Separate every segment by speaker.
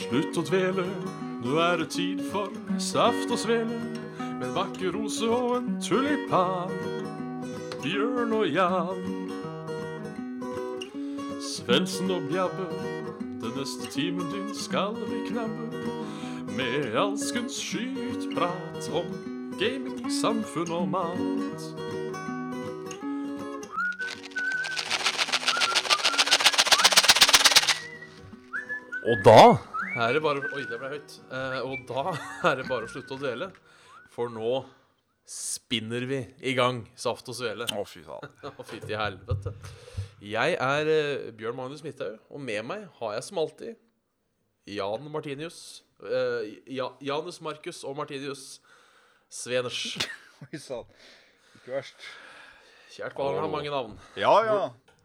Speaker 1: Slutt å dvele, nå er det tid for saft og svele. Med en vakker rose og en tulipan. Bjørn og Jan. Svendsen og Bjabbe, den neste timen din skal vi knabbe. Med alskens skytprat om gaming, samfunn og mat.
Speaker 2: Og da
Speaker 1: Her er det bare Oi, det ble høyt. Eh, og da er det bare å slutte å dvele. For nå spinner vi i gang Saft og Svele.
Speaker 2: Å, fy faen.
Speaker 1: Å, fy til helvete. Jeg er eh, Bjørn Magnus Midthaug, og med meg har jeg som alltid Jan Martinius. eh, ja, Janus Markus og Martinius Sveners.
Speaker 3: Oi sann. Ikke verst.
Speaker 1: Kjært barn har mange navn.
Speaker 2: Ja, ja.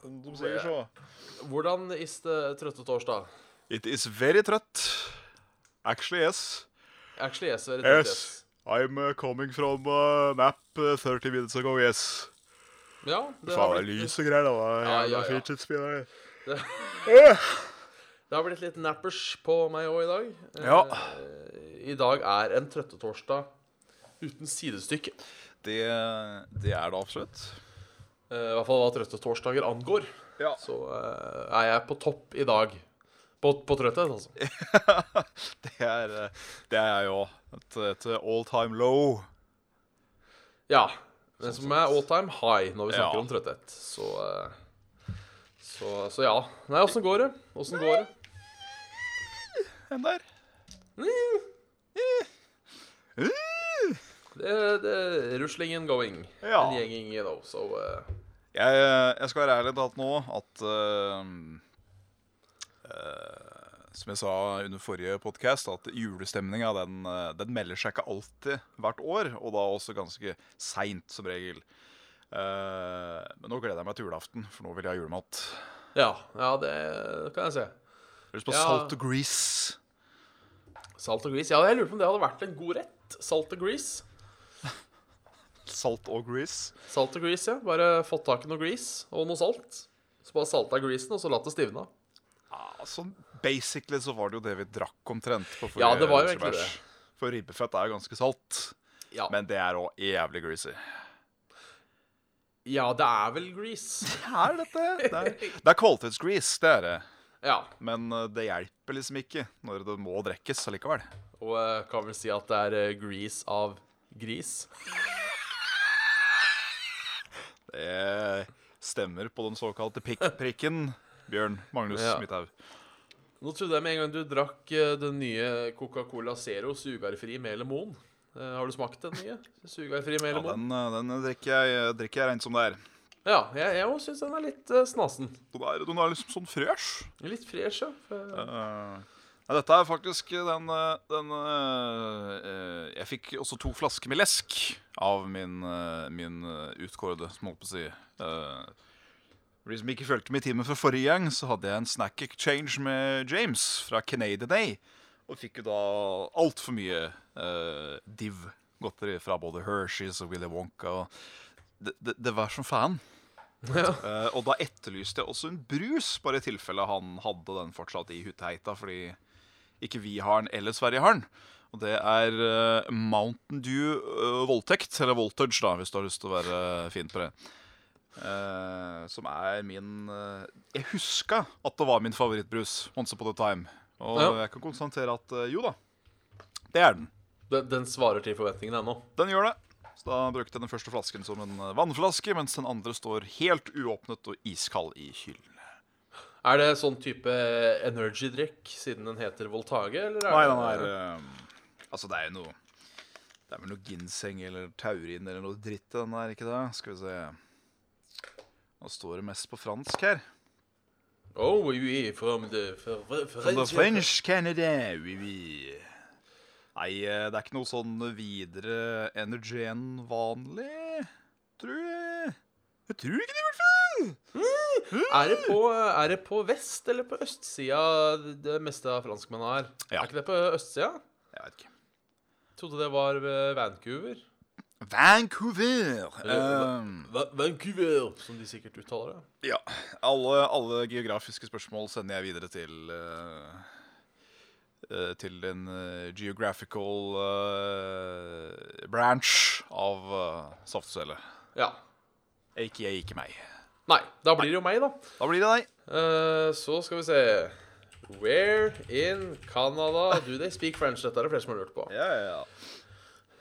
Speaker 3: De sier så.
Speaker 1: Hvordan is det trøtte torsdag?
Speaker 2: It is very trøtt. Actually, yes.
Speaker 1: Actually, yes. er det trøtt,
Speaker 2: Yes. I'm uh, coming from uh, map uh, 30 minutes ago, yes.
Speaker 1: yes. Ja, det har
Speaker 2: Faen, det er
Speaker 1: blitt-
Speaker 2: lys og greier, da. Det
Speaker 1: Ja,
Speaker 2: er
Speaker 1: ja,
Speaker 2: jævla
Speaker 1: ja.
Speaker 2: fidget spinner.
Speaker 1: Det har blitt litt nappers på meg òg i dag. Eh,
Speaker 2: Ja.
Speaker 1: I dag er en trøttetorsdag uten sidestykke.
Speaker 2: Det, det er det absolutt.
Speaker 1: Eh, I hvert fall hva trøttetorsdager angår.
Speaker 2: Ja.
Speaker 1: Så eh, er jeg på topp i dag. På, på trøtthet, altså.
Speaker 2: Det er, eh, det er jeg òg. Et, et all time low.
Speaker 1: Ja. Men som er all time high når vi
Speaker 2: Ja.
Speaker 1: snakker om trøtthet. Så, eh, så, så ja. Nei, åssen går det? Åssen går det?
Speaker 2: Enn der.
Speaker 1: Det, det Rusling and going.
Speaker 2: Ja.
Speaker 1: And ganging, you know. So eh,
Speaker 2: Jeg, eh, jeg skal være ærlig talt nå at eh, eh, Som jeg sa under forrige podkast, at julestemninga den, eh, den melder seg ikke alltid hvert år. Og da også ganske seint, som regel. Eh, men nå gleder jeg meg til julaften, for nå vil jeg ha julemat.
Speaker 1: ja. ja, det kan jeg se.
Speaker 2: Jeg har lyst på
Speaker 1: Ja.
Speaker 2: salt og grease.
Speaker 1: Salt og grease. Ja, jeg lurer på om det hadde vært en god rett. Salt og grease.
Speaker 2: Salt og grease.
Speaker 1: Salt og grease, ja. Bare fått tak i noe grease og noe salt. Så bare salta greasen, og så latt det stivne.
Speaker 2: Ja, sånn basically så var det jo det vi drakk omtrent på forrige
Speaker 1: Ja, det var jo egentlig
Speaker 2: russebæsj. For ribbefett er jo ganske salt.
Speaker 1: Ja.
Speaker 2: Men det er òg jævlig greasy.
Speaker 1: ja, det er vel grease.
Speaker 2: er dette? Det er, det er kvalitetsgrease, det er det.
Speaker 1: Ja.
Speaker 2: Men eh, det hjelper liksom ikke når det må drikkes allikevel.
Speaker 1: Og eh, kan vel si at det er eh, grease av gris.
Speaker 2: Det stemmer på den såkalte pikk-prikken, Bjørn Magnus
Speaker 1: Ja.
Speaker 2: Midthaug.
Speaker 1: Nå trodde jeg med en gang du drakk eh, den nye Coca-Cola Zero sugerfri med lemon. Eh, Har du smakt den nye? Sugerfri med
Speaker 2: Ja,
Speaker 1: lemon?
Speaker 2: den, eh, den drikker jeg, drikker jeg rent som det er.
Speaker 1: Ja, jeg, jeg syns den er litt eh, snasen.
Speaker 2: Den er, den er liksom sånn fresh.
Speaker 1: Litt fresh, ja. for-
Speaker 2: Eh, Nei, dette er faktisk den, eh, den eh, eh, Jeg fikk også to flasker med lesk av min, eh, min eh, utkårede, som holdt på å si. Eh, For de som ikke fulgte med i timen fra forrige gang, så hadde jeg en snack exchange med James fra Canadian Day. Og fikk jo da altfor mye eh, div godteri fra både Hershey's og Willy Wonka. og Det, det, det var som faen.
Speaker 1: Ja.
Speaker 2: Eh, og da etterlyste jeg også en brus, bare i tilfelle han hadde den fortsatt i hutteheita, fordi ikke vi har den, eller Sverige har den. Og det er eh, Mountain Dew eh, Voldtekt, eller Voltage, da, hvis du har lyst til å være fin på det. Eh, som er min eh, Jeg huska at det var min favorittbrus once upon a time. Og
Speaker 1: Ja.
Speaker 2: jeg kan konstatere at eh, jo da, det er den.
Speaker 1: Den, den svarer til forventningene ennå.
Speaker 2: Den gjør det. Så da brukte jeg den første flasken som en eh, vannflaske, mens den andre står helt uåpnet og iskald i kylen.
Speaker 1: Er det sånn type energy-drikk siden den heter Voltage, eller er
Speaker 2: Nei,
Speaker 1: det
Speaker 2: den er eh, Altså, det er jo noe Det er vel noe ginseng eller taurin eller noe dritt i den der, ikke det? Skal vi se Nå står det mest på fransk her.
Speaker 1: Oh, oui, from the, fr- fr-
Speaker 2: From the
Speaker 1: French-
Speaker 2: French Canada, oui, oui. Nei, eh, det er ikke noe sånn videre energy enn vanlig, tror jeg. Jeg tror ikke det, i hvert fall.
Speaker 1: Er det, på, er det på vest- eller på østsida det meste av franskmennene er?
Speaker 2: Ja.
Speaker 1: Er ikke det på østsida?
Speaker 2: Jeg vet ikke.
Speaker 1: Trodde det var ved Vancouver.
Speaker 2: Vancouver. ehm,
Speaker 1: Vancouver, som de sikkert uttaler det.
Speaker 2: Ja. Alle, alle geografiske spørsmål sender jeg videre til eh, eh, til en eh, geographical eh, branch av uh, saftcelle.
Speaker 1: Ja.
Speaker 2: Aka ikke meg.
Speaker 1: Nei, da blir det jo meg, da.
Speaker 2: Da blir det deg.
Speaker 1: Eh, så skal vi se Where in Canada do they speak French? Dette er det flere som har lurt på.
Speaker 3: Ja, ja.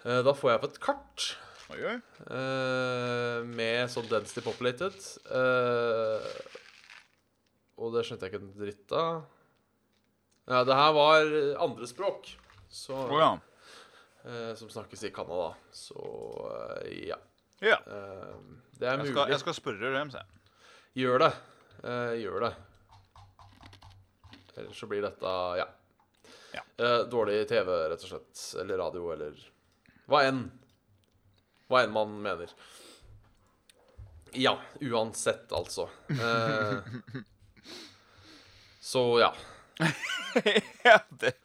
Speaker 1: Eh, da får jeg opp et kart
Speaker 3: Oi, oi.
Speaker 1: eh, med sånn density populated. Eh, og det skjønte jeg ikke en dritt av. Ja, det her var andre språk så,
Speaker 2: Å ja.
Speaker 1: eh, som snakkes i Canada. Så eh, ja.
Speaker 2: ja.
Speaker 1: Eh, det er
Speaker 2: Jeg,
Speaker 1: mulig.
Speaker 2: skal, jeg skal spørre dem, sa jeg.
Speaker 1: Gjør det. Eh, gjør det. Ellers så blir dette ja.
Speaker 2: Ja.
Speaker 1: Eh, dårlig TV, rett og slett. Eller radio, eller hva enn. Hva enn man mener. Ja, uansett, altså. Eh, så ja.
Speaker 2: ja, det.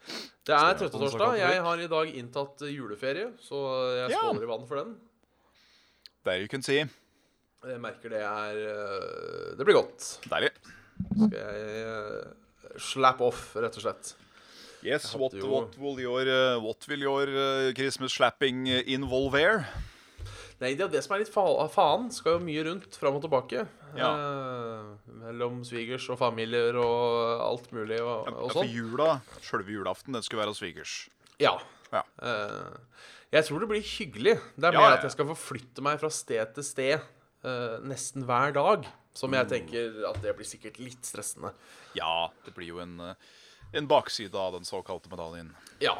Speaker 1: Det er
Speaker 2: Stemmer.
Speaker 1: Trøttetorsdag. Jeg har i dag inntatt juleferie, så jeg
Speaker 2: Ja.
Speaker 1: skåler i vann for den.
Speaker 2: There you can see.
Speaker 1: Jeg merker det er eh, Det blir godt.
Speaker 2: Deilig.
Speaker 1: Skal jeg eh, slap off, rett og slett.
Speaker 3: Yes,
Speaker 1: Jeg
Speaker 3: what,
Speaker 1: hadde jo-
Speaker 3: what will your
Speaker 2: Eh, what will your eh, Christmas slapping eh, involve?
Speaker 1: Nei, det er det som er litt fa faen. Skal jo mye rundt fram og tilbake. Eh, mellom svigers og familier og alt mulig og,
Speaker 2: Ja,
Speaker 1: og
Speaker 2: for
Speaker 1: sånn.
Speaker 2: jula, Sjølve julaften, den skulle være hos svigers.
Speaker 1: Ja.
Speaker 2: Ja.
Speaker 1: Eh, jeg tror det blir hyggelig. Det er
Speaker 2: Ja,
Speaker 1: mer
Speaker 2: ja,
Speaker 1: at
Speaker 2: ja.
Speaker 1: jeg skal forflytte meg fra sted til sted eh, nesten hver dag. Som
Speaker 2: Mm.
Speaker 1: jeg tenker at det blir sikkert litt stressende.
Speaker 2: Ja, det blir jo en, eh, en bakside av den såkalte medaljen.
Speaker 1: Ja.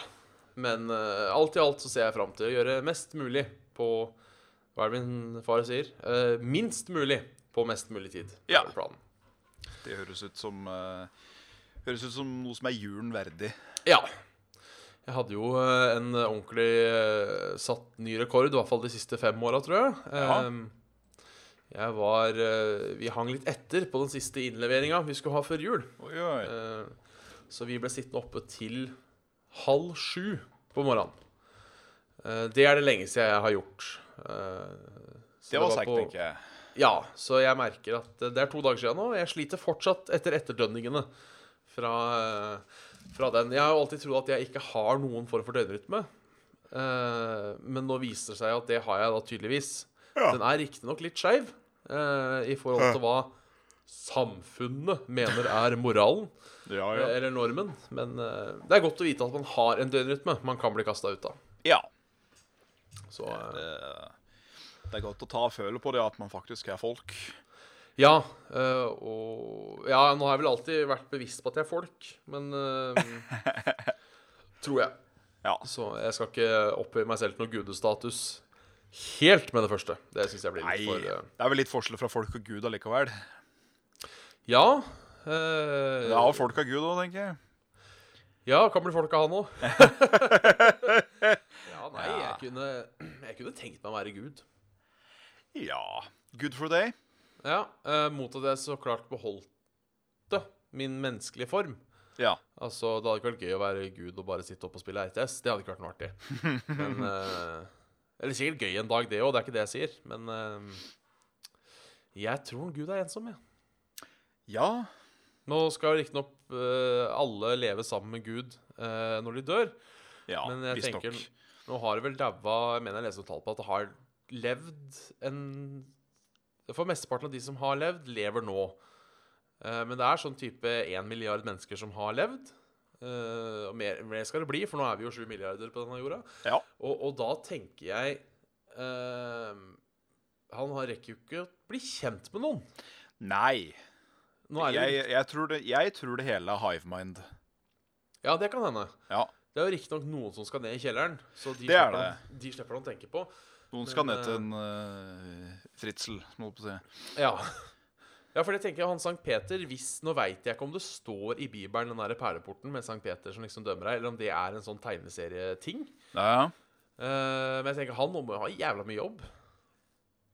Speaker 1: Men eh, alt i alt så ser jeg fram til å gjøre mest mulig på Hva er det min far sier? Eh, minst mulig på mest mulig tid. er
Speaker 2: Ja.
Speaker 1: vel Planen.
Speaker 2: Det høres ut som eh, Høres ut som noe som er julen verdig.
Speaker 1: Ja. Jeg hadde jo eh, en ordentlig eh, satt ny rekord, i hvert fall de siste fem åra, tror jeg.
Speaker 2: Ja.
Speaker 1: Ehm, Jeg var eh, Vi hang litt etter på den siste innleveringa vi skulle ha før jul.
Speaker 2: Oi, oi.
Speaker 1: Eh, Så vi ble sittende oppe til halv sju på morgenen. Eh, Det er det lengste jeg har gjort. Eh, så
Speaker 2: det var
Speaker 1: på-
Speaker 2: seigt, tenker jeg.
Speaker 1: ja, så jeg merker at det er to dager siden nå, og jeg sliter fortsatt etter etterdønningene fra, eh, fra den. Jeg har jo alltid trodd at jeg ikke har noen form for døgnrytme, eh, men nå viser det seg at det har jeg da tydeligvis.
Speaker 2: Ja.
Speaker 1: Den er riktignok litt skeiv eh, i forhold til hva samfunnet mener er moralen,
Speaker 2: Ja,
Speaker 1: eh,
Speaker 2: ja.
Speaker 1: eller normen, men eh, det er godt å vite at man har en døgnrytme man kan bli kasta ut av.
Speaker 2: ja.
Speaker 1: Så, eh,
Speaker 2: Det, det er godt å ta og føle på det at man faktisk er folk.
Speaker 1: Ja, øh, og Ja, nå har jeg vel alltid vært bevisst på at jeg er folk, men øh, Tror jeg.
Speaker 2: Ja.
Speaker 1: Så jeg skal ikke opphøye meg selv til noe gudestatus helt med det første. Det syns jeg blir
Speaker 2: Nei,
Speaker 1: litt for
Speaker 2: det
Speaker 1: øh,
Speaker 2: er vel litt forskjell fra folk og Gud allikevel.
Speaker 1: Ja. øh,
Speaker 2: Ja, folk og Gud òg, tenker jeg.
Speaker 1: ja, kan bli folk av han òg. ja, nei, jeg kunne, jeg kunne tenkt meg å være gud.
Speaker 2: Ja. Good for day.
Speaker 1: Ja, øh, Mot at jeg så klart beholdt det, min menneskelige form.
Speaker 2: Ja.
Speaker 1: Altså, Det hadde ikke vært gøy å være gud og bare sitte opp og spille RTS. Det hadde ikke vært noe artig. Men, eh, eller sikkert gøy en dag, det òg. Det er ikke det jeg sier. Men eh, jeg tror Gud er ensom, jeg.
Speaker 2: Ja.
Speaker 1: Nå skal riktignok uh, alle leve sammen med Gud eh, når de dør.
Speaker 2: Ja,
Speaker 1: men jeg
Speaker 2: visstnok.
Speaker 1: tenker Nå har det vel daua Jeg mener jeg leser noe tall på at det har levd en For mesteparten av de som har levd, lever nå. Eh, Men det er sånn type 1 milliard mennesker som har levd. Eh, Og mer, mer skal det bli, for nå er vi jo 7 milliarder på denne jorda.
Speaker 2: Ja.
Speaker 1: Og, og da tenker jeg eh, Han har rekker jo ikke å bli kjent med noen.
Speaker 2: Nei.
Speaker 1: Nå er det,
Speaker 2: Jeg,
Speaker 1: jo-
Speaker 2: jeg, tror det, jeg tror det hele er hive mind.
Speaker 1: ja, det kan hende.
Speaker 2: Ja.
Speaker 1: Det er jo riktignok noen som skal ned i kjelleren, så de
Speaker 2: Det er
Speaker 1: slipper han- de slipper han å tenke på.
Speaker 2: Noen skal
Speaker 1: Men,
Speaker 2: ned til en eh, fritsel, må jeg på å si.
Speaker 1: Ja. ja, for det tenker jeg han Sankt Peter hvis, Nå veit jeg ikke om det står i Bibelen, den der perleporten med Sankt Peter som liksom dømmer deg, eller om det er en sånn tegneserieting.
Speaker 2: Ja, ja.
Speaker 1: Eh, men jeg tenker han må ha jævla mye jobb.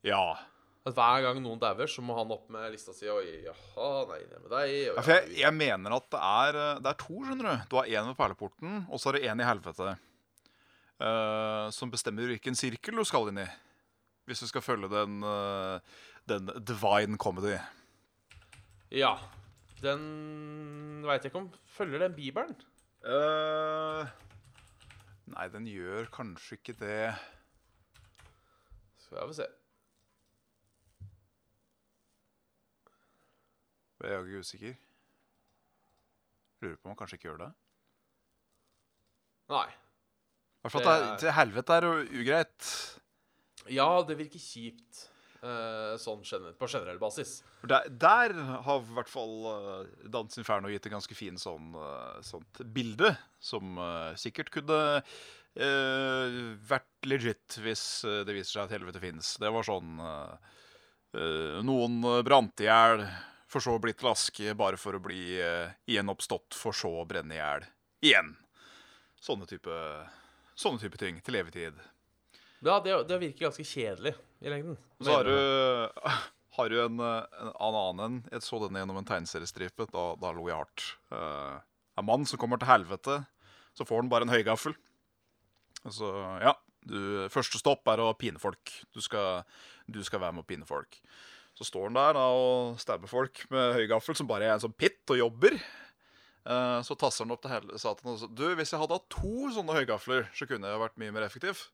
Speaker 2: ja.
Speaker 1: At Hver gang noen dauer, så må han opp med lista si. Oi, jaha, nei, ned med deg.
Speaker 2: ja
Speaker 1: Og,
Speaker 2: for jeg, jeg mener at det er, eh, det er to, skjønner du. Du har én ved perleporten, og så er det én i helvete. eh, som bestemmer hvilken sirkel du skal inn i. Hvis du skal følge den, eh, den divine comedy.
Speaker 1: ja. Den veit jeg ikke om følger den Bibelen.
Speaker 2: Eh, nei, den gjør kanskje ikke det.
Speaker 1: Skal vi se.
Speaker 2: Jeg er jo ikke usikker. Lurer på om han kanskje ikke gjør det.
Speaker 1: Nei.
Speaker 2: I hvert fall at det
Speaker 1: Det
Speaker 2: er til helvete er jo ugreit.
Speaker 1: Ja, det virker kjipt eh, sånn gener på generell basis.
Speaker 2: For Der, der har i hvert fall eh, Dans Inferno gitt et ganske fint sånn, eh, sånt bilde, som eh, sikkert kunne eh, vært legit hvis eh, det viser seg at helvete fins. Det var sånn eh, eh, Noen eh, brant i hjel, for så blitt til aske, bare for å bli eh, gjenoppstått, for så å brenne i hjel igjen. Sånne type, sånne type ting til evig tid.
Speaker 1: Ja, det, det virker ganske kjedelig i lengden.
Speaker 2: Så har du, har du en, eh, en annen en. Jeg så denne gjennom en tegneseriestripe. Da, da lo jeg hardt. Eh, en mann som kommer til helvete, så får han bare en høygaffel. Og Så, ja, du, første stopp er å pine folk. Du skal, du skal være med å pine folk. Så står han der da, og stabber folk med høygaffel, som bare er en sånn pitt og jobber. Eh, Så tasser han opp til hele satan og sier Du, hvis jeg hadde hatt to sånne høygafler, så kunne jeg vært mye mer effektiv.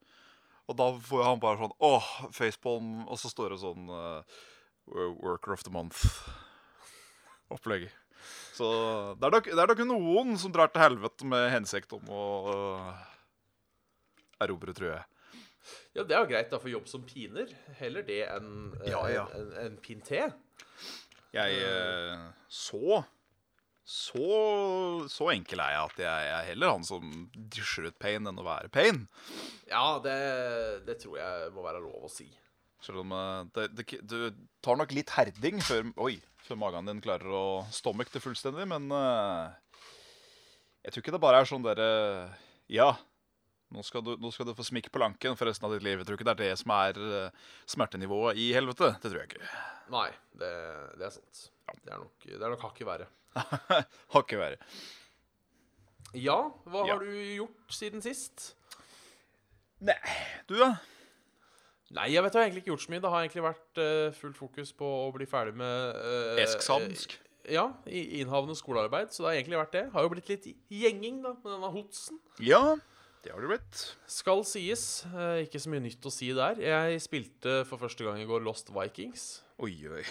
Speaker 2: Og da får han bare sånn Åh, facepalm. Og så står det sånn eh, Worker of the month-opplegg. Så det er, nok, det er nok noen som drar til helvete med hensikt om å eh, erobre, tror jeg.
Speaker 1: Ja, det er jo greit da for jobb som piner. Heller det enn eh,
Speaker 2: Ja, ja.
Speaker 1: en, en, en pinté.
Speaker 2: Jeg eh, så så, så enkel er jeg at jeg, jeg er heller han som dysjer ut pain enn å være pain.
Speaker 1: Ja, det, det tror jeg må være lov å si.
Speaker 2: Selv om eh, det, det, du tar nok litt herding før, oi, før magen din klarer å stomach det fullstendig, men eh, jeg tror ikke det bare er sånn derre Ja, nå skal, du, nå skal du få smikk på lanken for resten av ditt liv. Jeg tror ikke det er det som er eh, smertenivået i helvete. Det tror jeg ikke.
Speaker 1: Nei, det, det er sant. Det er nok, det er nok hakket verre.
Speaker 2: Har ikke verre.
Speaker 1: Ja, hva
Speaker 2: Ja.
Speaker 1: har du gjort siden sist?
Speaker 2: Nei. Du, da?
Speaker 1: Nei, jeg vet jeg har egentlig ikke gjort så mye. Det har egentlig vært eh, fullt fokus på å bli ferdig med uh,
Speaker 2: Eh, Esk-samsk.
Speaker 1: Ja, i innhavende skolearbeid. Så det har egentlig vært det. Har jo blitt litt gjenging, da, med denne hotsen.
Speaker 2: Ja, det har du blitt.
Speaker 1: Skal sies. eh, ikke så mye nytt å si der. Jeg spilte for første gang i går Lost Vikings.
Speaker 2: Oi,
Speaker 1: Eh,
Speaker 2: oi.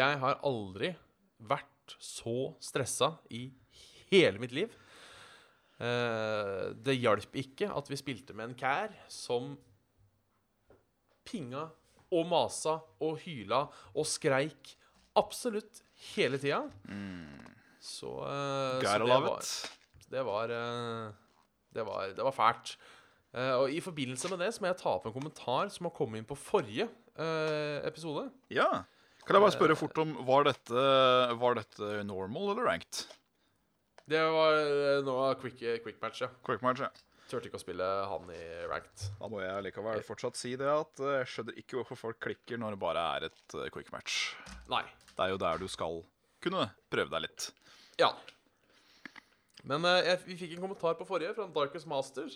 Speaker 1: Jeg har aldri vært så stressa i hele mitt liv. Eh, det hjalp ikke at vi spilte med en kær som pinga og masa og hyla og skreik absolutt hele tida. Så, eh, så
Speaker 2: Gotta
Speaker 1: det
Speaker 2: love
Speaker 1: var-
Speaker 2: it.
Speaker 1: det var, eh, det var, det var fælt. Eh, og i forbindelse med det så må jeg ta opp en kommentar som har kommet inn på forrige eh, episode.
Speaker 2: Ja. Kan jeg
Speaker 1: Eh,
Speaker 2: bare spørre fort om Var dette, var dette normal eller ranked?
Speaker 1: Det var eh, nå quick, quick match, ja.
Speaker 2: Quick match, ja.
Speaker 1: Turte ikke å spille han i ranked.
Speaker 2: Da må jeg likevel fortsatt si det at eh, jeg skjønner ikke hvorfor folk klikker når det bare er et eh, quick match.
Speaker 1: Nei.
Speaker 2: Det er jo der du skal kunne prøve deg litt.
Speaker 1: Ja. Men eh, jeg, vi fikk en kommentar på forrige fra en Darkest Master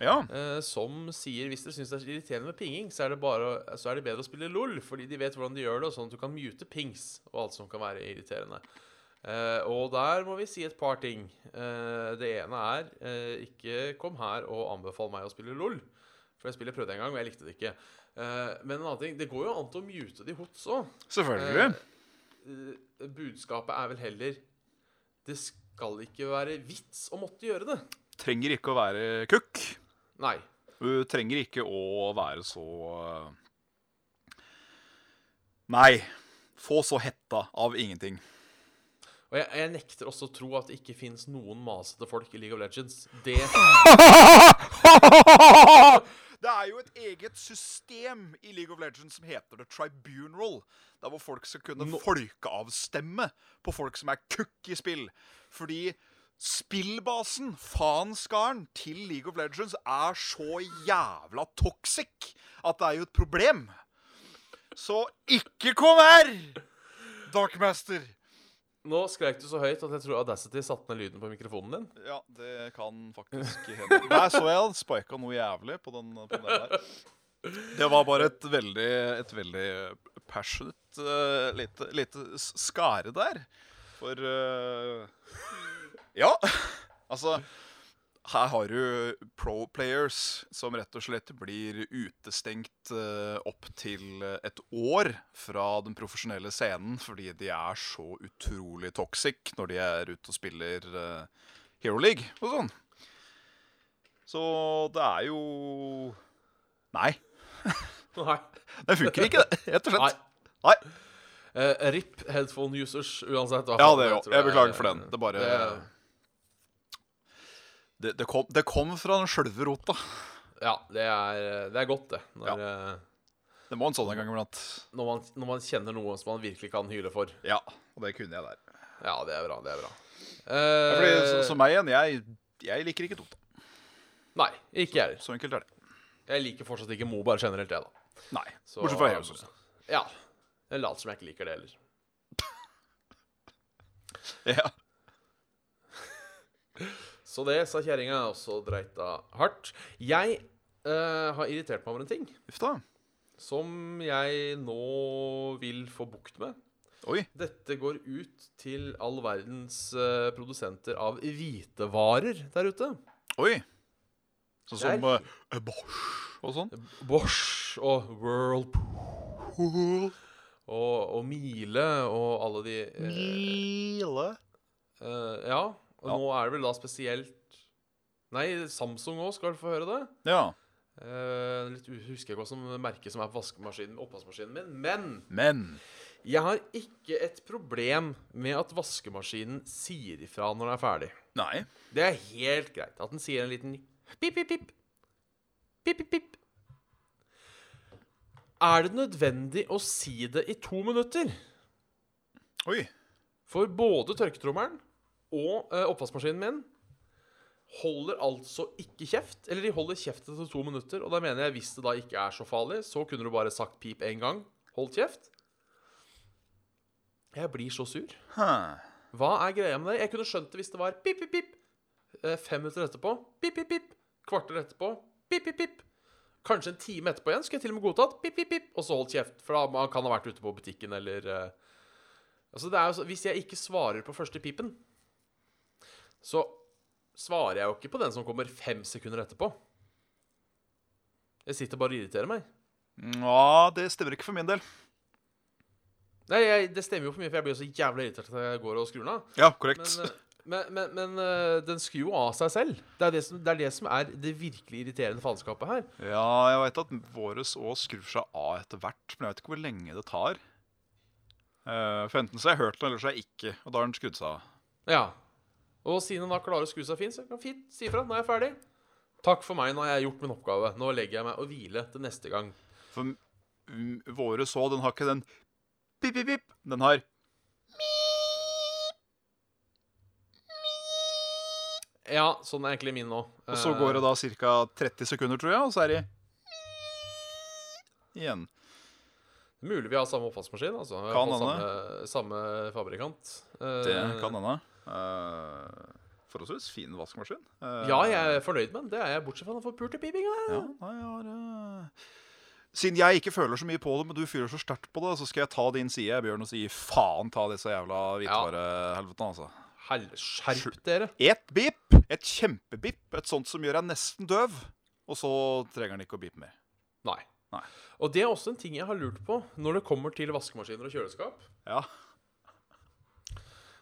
Speaker 2: Ja,
Speaker 1: eh, som sier hvis dere syns det er irriterende med pinging, så er, det bare, å- så er det bedre å spille LOL, fordi de vet hvordan de gjør det, og sånn at du kan mute pings og alt som kan være irriterende. Eh, og der må vi si et par ting. Eh, det ene er eh, ikke kom her og anbefal meg å spille LOL. For jeg spiller prøvde en gang, og jeg likte det ikke. Eh, men en annen ting, det går jo an til å mute de hots òg.
Speaker 2: selvfølgelig.
Speaker 1: Eh, budskapet er vel heller Det skal ikke være vits å måtte gjøre det.
Speaker 2: Trenger ikke å være kukk.
Speaker 1: Nei.
Speaker 2: Du trenger ikke å være så eh, Nei. Få så hetta av ingenting.
Speaker 1: Og jeg, jeg nekter også å tro at det ikke fins noen masete folk i League of Legends. Det
Speaker 2: Det er jo et eget system i League of Legends som heter The Tribunal. Der hvor folk skal kunne folkeavstemme på folk som er kukk i spill. Fordi spillbasen, faenskaren, til League of Legends er så jævla toxic at det er jo et problem. Så ikke kom her, Darkmaster.
Speaker 1: Nå skrek du så høyt at jeg tror Audacity satte ned lyden på mikrofonen din.
Speaker 2: Ja, det kan faktisk hende. Der så jeg han spika noe jævlig på den, på den der. Det var bare et veldig, et veldig passionate eh, lite, lite s- skare der. For eh, Ja. Altså, her har du pro players som rett og slett blir utestengt eh, opp til et år fra den profesjonelle scenen fordi de er så utrolig toxic når de er ute og spiller eh, Hero League og sånn. Så det er jo Nei.
Speaker 1: Nei.
Speaker 2: Det funker ikke, det, rett og
Speaker 1: Nei.
Speaker 2: slett. Nei.
Speaker 1: Eh, RIP headphone users, uansett. hva
Speaker 2: Ja,
Speaker 1: faen,
Speaker 2: det
Speaker 1: jeg
Speaker 2: jo.
Speaker 1: tror
Speaker 2: Jeg
Speaker 1: det er-
Speaker 2: beklager for den. Det bare
Speaker 1: Det-
Speaker 2: Det, det, kom, det kom fra den sjølve rota.
Speaker 1: Ja, det er, det er godt, det. Når, eh,
Speaker 2: Det må en sånn en gang iblant.
Speaker 1: når, man, når man kjenner noe som man virkelig kan hyle for.
Speaker 2: Ja, og det kunne jeg der.
Speaker 1: Ja, det er bra. Det er bra.
Speaker 2: Ja, Fordi, så,
Speaker 1: Eh,
Speaker 2: så meg igjen, jeg, jeg liker ikke Dota.
Speaker 1: Nei, ikke jeg heller.
Speaker 2: Så enkelt er det.
Speaker 1: Jeg liker fortsatt ikke MOBA generelt, jeg, da.
Speaker 2: Nei.
Speaker 1: Så-
Speaker 2: Bortsett fra Heroes. også.
Speaker 1: Ja. Jeg later som jeg ikke liker det heller.
Speaker 2: Ja.
Speaker 1: Så det sa kjerringa er også dreita hardt. Jeg eh, har irritert meg over en ting
Speaker 2: Uff da.
Speaker 1: som jeg nå vil få bukt med.
Speaker 2: Oi.
Speaker 1: Dette går ut til all verdens eh, produsenter av hvitevarer der ute.
Speaker 2: Oi. Sånn som
Speaker 1: Der. Eh,
Speaker 2: eh, Bosch og sånn.
Speaker 1: Bosch og Whirlpool og, og Miele og alle de eh,
Speaker 2: Mile.
Speaker 1: eh, Ja. Og
Speaker 2: Ja.
Speaker 1: nå er det vel da spesielt Nei, Samsung òg skal få høre det.
Speaker 2: Ja.
Speaker 1: Eh, litt u- husker jeg ikke hva som merke som er på vaskemaskinen, oppvaskmaskinen min. Men
Speaker 2: Men
Speaker 1: jeg har ikke et problem med at vaskemaskinen sier ifra når den er ferdig.
Speaker 2: Nei.
Speaker 1: Det er helt greit at den sier en liten pip, pip, pip. Pip, pip, pip. Er det nødvendig å si det i to minutter?
Speaker 2: Oi.
Speaker 1: For både tørketrommelen og eh, oppvaskmaskinen min holder altså ikke kjeft. Eller de holder kjeft etter to minutter, og da mener jeg hvis det da ikke er så farlig, så kunne du bare sagt pip én gang. Hold kjeft. Jeg blir så sur.
Speaker 2: Huh.
Speaker 1: Hva er greia med det? Jeg kunne skjønt det hvis det var pip, pip, pip. eh, Fem minutter etterpå. Pip, pip, pip. Kvarter etterpå. Pip, pip, pip. Kanskje en time etterpå igjen skulle jeg til og med godtatt. Pip, pip, pip. Og så holdt kjeft. For da man kan ha vært ute på butikken eller eh, Altså, det er jo så Hvis jeg ikke svarer på første pipen, så svarer jeg jo ikke på den som kommer fem sekunder etterpå. Jeg sitter bare og irriterer meg.
Speaker 2: Ja, det stemmer ikke for min del.
Speaker 1: Nei, jeg, Det stemmer jo for mye, for jeg blir jo så jævlig irritert at jeg går og skrur den av.
Speaker 2: Ja, korrekt.
Speaker 1: Men, eh, men, men, men eh, den skyr jo av seg selv. Det er det som det er, det som er det virkelig irriterende faenskapet her.
Speaker 2: Ja, jeg veit at våres òg skrur seg av etter hvert, men jeg vet ikke hvor lenge det tar. Eh, for enten så har jeg hørt den, eller så har jeg ikke. Og da har den skrudd seg av.
Speaker 1: Ja. Og siden han da klarer å skru seg fint, så kan han fint si ifra. Nå er jeg ferdig. Takk for meg, nå har jeg gjort min oppgave. Nå legger jeg meg og hviler til neste gang.
Speaker 2: For mm, våres òg, den har ikke den pip, pip, pip. Den har
Speaker 1: Ja, sånn er egentlig min nå. Eh,
Speaker 2: Og så går det da ca. 30 sekunder, tror jeg, og så er det igjen.
Speaker 1: Mulig vi har samme oppvaskmaskin. Altså. Vi har
Speaker 2: Kan
Speaker 1: fått
Speaker 2: hende.
Speaker 1: samme, samme fabrikant. Eh,
Speaker 2: Det kan hende. Eh, forholdsvis fin vaskemaskin. Eh,
Speaker 1: Ja, jeg er fornøyd med den. Det er jeg, bortsett fra den forpulte pipinga.
Speaker 2: Ja, nei, jeg har eh, Siden jeg ikke føler så mye på det, men du fyrer så sterkt på det, så skal jeg ta din side, Bjørn, og si faen ta disse jævla hvitvarehelvetene, altså.
Speaker 1: Hel- Skjerp dere.
Speaker 2: Et bip, et kjempebip, et sånt som gjør deg nesten døv, og så trenger den ikke å bipe mer.
Speaker 1: Nei.
Speaker 2: Nei.
Speaker 1: Og det er også en ting jeg har lurt på når det kommer til vaskemaskiner og kjøleskap.
Speaker 2: Ja.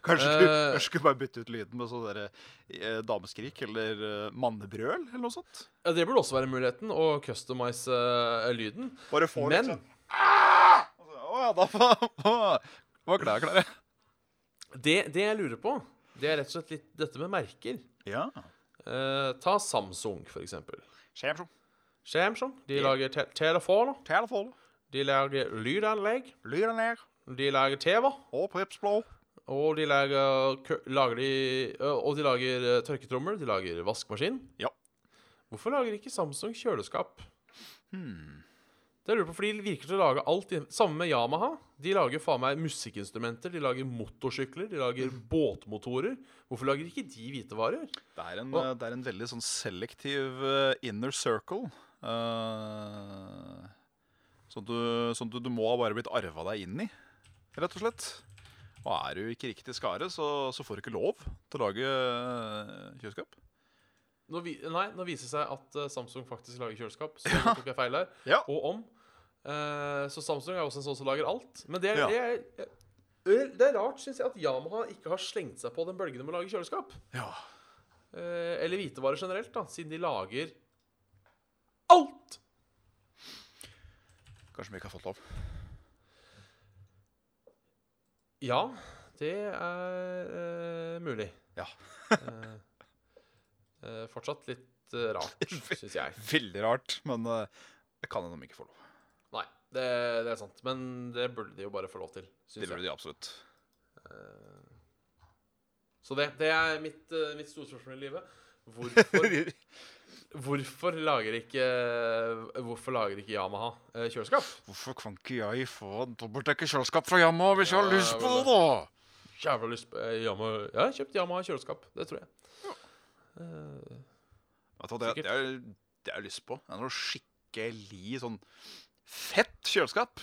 Speaker 2: Kanskje du
Speaker 1: Eh.
Speaker 2: kanskje du bare bytte ut lyden med sånn derre eh, dameskrik eller eh, mannebrøl eller noe sånt?
Speaker 1: Ja, Det burde også være muligheten å customize eh, lyden.
Speaker 2: Bare få
Speaker 1: Men
Speaker 2: litt sånn «Ah!» Og så, Å ja, da var- var klær klare.
Speaker 1: det, det jeg lurer på, det er rett og slett litt dette med merker.
Speaker 2: Ja.
Speaker 1: Eh, ta Samsung, for eksempel.
Speaker 2: Skjermsjon.
Speaker 1: Samsung de
Speaker 2: Ja.
Speaker 1: lager te telefoner,
Speaker 2: Telefon.
Speaker 1: de lager lydanlegg,
Speaker 2: Lydanlegg.
Speaker 1: de lager TV,
Speaker 2: Og Pripsblå.
Speaker 1: og de lager, kø- lager de, ø, Og de lager eh, tørketrommer, de lager vaskemaskin.
Speaker 2: Ja.
Speaker 1: Hvorfor lager ikke Samsung kjøleskap? Det lurer jeg på, for De virker til å lage alt inn- Samme med Yamaha. De lager faen meg musikkinstrumenter, de lager motorsykler, de lager båtmotorer. Hvorfor lager ikke de hvitevarer?
Speaker 2: Det er, en,
Speaker 1: Og-
Speaker 2: eh, det er en veldig sånn selektiv eh, inner circle. eh, sånn at du, sånn at du, du må ha bare blitt arva deg inn i, rett og slett. Og er du ikke riktig skare, så, så får du ikke lov til å lage eh, kjøleskap.
Speaker 1: Nå, vi, nei, nå viser det seg at eh, Samsung faktisk lager kjøleskap. Så nå tok jeg feil der.
Speaker 2: Ja.
Speaker 1: Og om. Eh, så Samsung er også en sånn som lager alt. Men det er,
Speaker 2: Ja.
Speaker 1: det er, det er rart, syns jeg, at Yamaha ikke har slengt seg på den bølgen med å lage kjøleskap.
Speaker 2: Ja.
Speaker 1: Eh, eller hvitevarer generelt, da, siden de lager alt!
Speaker 2: Kanskje vi ikke har fått lov.
Speaker 1: Ja, det er eh, mulig.
Speaker 2: Ja.
Speaker 1: Eh, eh, fortsatt litt eh, rart, syns jeg.
Speaker 2: Veldig rart, men eh, det kan hende de ikke får lov.
Speaker 1: Nei, det, det er sant. Men det burde de jo bare få lov til.
Speaker 2: Det
Speaker 1: Synes
Speaker 2: burde
Speaker 1: jeg.
Speaker 2: de absolutt.
Speaker 1: Eh, Så det, det er mitt, eh, mitt store spørsmål i livet. Hvorfor, hvorfor, lager ikke, hvorfor lager ikke Yamaha eh, kjøleskap?
Speaker 2: Hvorfor kan ikke jeg få en dobbeltdekket kjøleskap fra Yamaha hvis jeg har
Speaker 1: Ja,
Speaker 2: lyst på
Speaker 1: vel,
Speaker 2: det, da?
Speaker 1: Jævla lyst på eh, Yamaha. Jeg har kjøpt Yamaha kjøleskap. Det tror jeg. Eh,
Speaker 2: Vet du hva, det, det, er, det er jeg lyst på. Det er noe skikkelig sånn fett kjøleskap.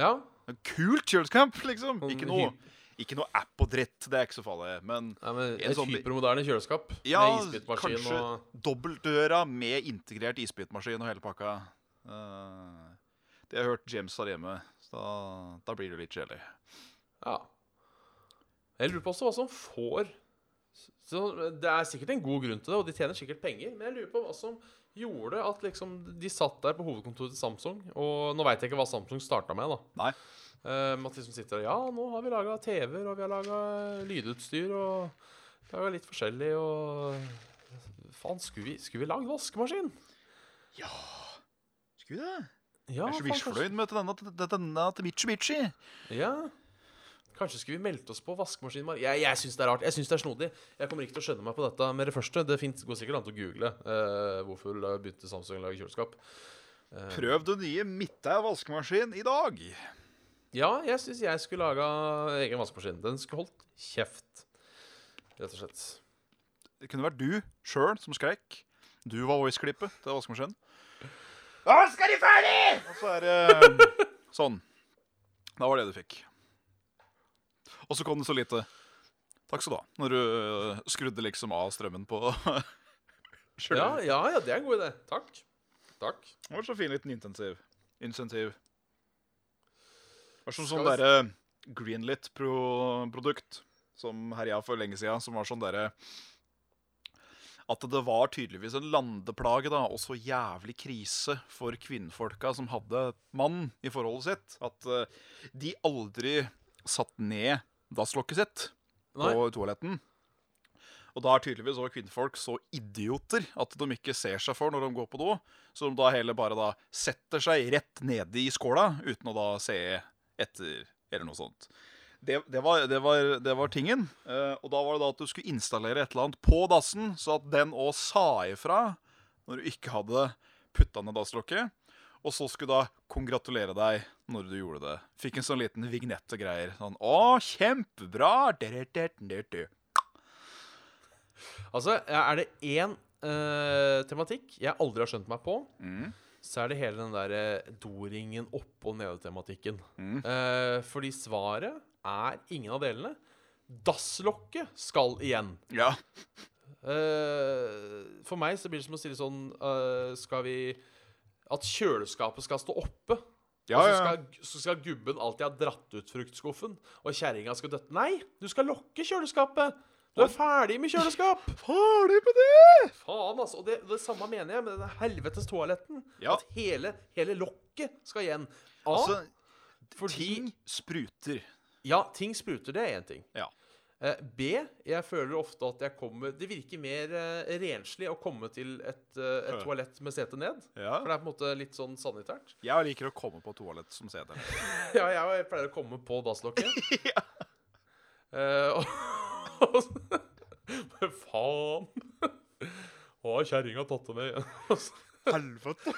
Speaker 1: ja.
Speaker 2: En Kult kjøleskap, liksom.
Speaker 1: Sånn
Speaker 2: Ikke noe,
Speaker 1: hy-
Speaker 2: ikke noe app og dritt. Det er ikke så farlig. Men
Speaker 1: Nei, men
Speaker 2: En
Speaker 1: et
Speaker 2: sånn-
Speaker 1: hypermoderne kjøleskap
Speaker 2: ja,
Speaker 1: med isbitmaskin
Speaker 2: kanskje
Speaker 1: og
Speaker 2: dobbeltdøra med integrert isbitmaskin og hele pakka. Eh, det har jeg hørt James har hjemme. Så da, da blir det litt jelly.
Speaker 1: Ja. Jeg lurer på også hva som får så Det er sikkert en god grunn til det, og de tjener sikkert penger, men jeg lurer på hva som gjorde at liksom de satt der på hovedkontoret til Samsung Og nå veit jeg ikke hva Samsung starta med, da.
Speaker 2: Nei.
Speaker 1: Eh, men at liksom sitter der Ja, nå har vi laga TV-er, og vi har laga lydutstyr, og laga litt forskjellig, og Faen, skulle vi, skulle vi lagd vaskemaskin?
Speaker 2: Skulle
Speaker 1: Ja,
Speaker 2: det? Jeg er så
Speaker 1: faen, kanskje-
Speaker 2: misfornøyd med denne, denne, denne til Mitsubishi.
Speaker 1: Ja. Kanskje skulle vi meldt oss på vaskemaskin? Mar- Jeg, jeg syns det er rart. Jeg synes det er snodig. Jeg kommer ikke til å skjønne meg på dette med det første. Det finnes, går sikkert an til å google eh, hvorfor la- begynte Samsung å lage kjøleskap. Eh,
Speaker 2: Prøv den nye Midthaug vaskemaskin i dag.
Speaker 1: ja, jeg syns jeg skulle laga egen vaskemaskin. Den skulle holdt kjeft, rett og slett.
Speaker 2: Det kunne vært du sjøl som skrek. Du var voice-klippet til vaskemaskinen. Nå skal de ferdig! Og så er det sånn. Da var det du fikk. Og så kom det så lite Takk skal du ha. Når du øh, skrudde liksom av strømmen på sjøl.
Speaker 1: Ja, ja, ja, det er en god idé. Takk. Takk.
Speaker 2: Det var så fin liten intensiv. Insentiv. Det var som sånn
Speaker 1: Skal vi-
Speaker 2: derre Greenlit-produkt som herja for lenge sida, som var sånn derre At det var tydeligvis en landeplage, da, og så jævlig krise for kvinnfolka som hadde mann i forholdet sitt, at eh, de aldri satt ned dasslokket sitt
Speaker 1: Nei.
Speaker 2: på toaletten. Og da er tydeligvis også kvinnfolk så idioter at de ikke ser seg for når de går på do, så de da heller bare da setter seg rett nede i skåla uten å da se etter, eller noe sånt. Det, det, var, det, var, det var tingen. Eh, og da var det da at du skulle installere et eller annet på dassen, så at den òg sa ifra når du ikke hadde putta ned dasslokket. Og så skulle da kongratulere deg når du gjorde det. Fikk en sånn liten vignett og greier. Sånn, å, kjempebra! Der, der, der, der.
Speaker 1: Altså, er det én eh, tematikk jeg aldri har skjønt meg på,
Speaker 2: Mm.
Speaker 1: så er det hele den der eh, doringen opp- og nede-tematikken.
Speaker 2: Mm.
Speaker 1: Eh, fordi svaret er ingen av delene. Dasslokket skal igjen.
Speaker 2: Ja.
Speaker 1: Eh, for meg så blir det som å si det sånn eh, Skal vi At kjøleskapet skal stå oppe.
Speaker 2: Ja,
Speaker 1: og så
Speaker 2: ja.
Speaker 1: skal, så skal gubben alltid ha dratt ut fruktskuffen, og kjerringa skal døtte Nei, du skal lokke kjøleskapet! Du er ferdig med kjøleskap!
Speaker 2: Ferdig med det!
Speaker 1: Faen, altså. Og det, det samme mener jeg med denne helvetes toaletten.
Speaker 2: Ja.
Speaker 1: At hele, hele lokket skal igjen. A,
Speaker 2: Altså,
Speaker 1: fordi ting.
Speaker 2: ting spruter.
Speaker 1: Ja, ting spruter. Det er én ting.
Speaker 2: Ja.
Speaker 1: Eh, B, jeg føler ofte at jeg kommer Det virker mer eh, renslig å komme til et, eh, et
Speaker 2: Ja.
Speaker 1: toalett med setet ned.
Speaker 2: Ja.
Speaker 1: For det er på en måte litt sånn sanitært.
Speaker 2: Jeg liker å komme på toalett som seter.
Speaker 1: Ja, jeg, jeg pleier å komme på dasslokket. Eh, og, og Men faen! Å, kjerringa tatt det med. Og så-
Speaker 2: Helvete.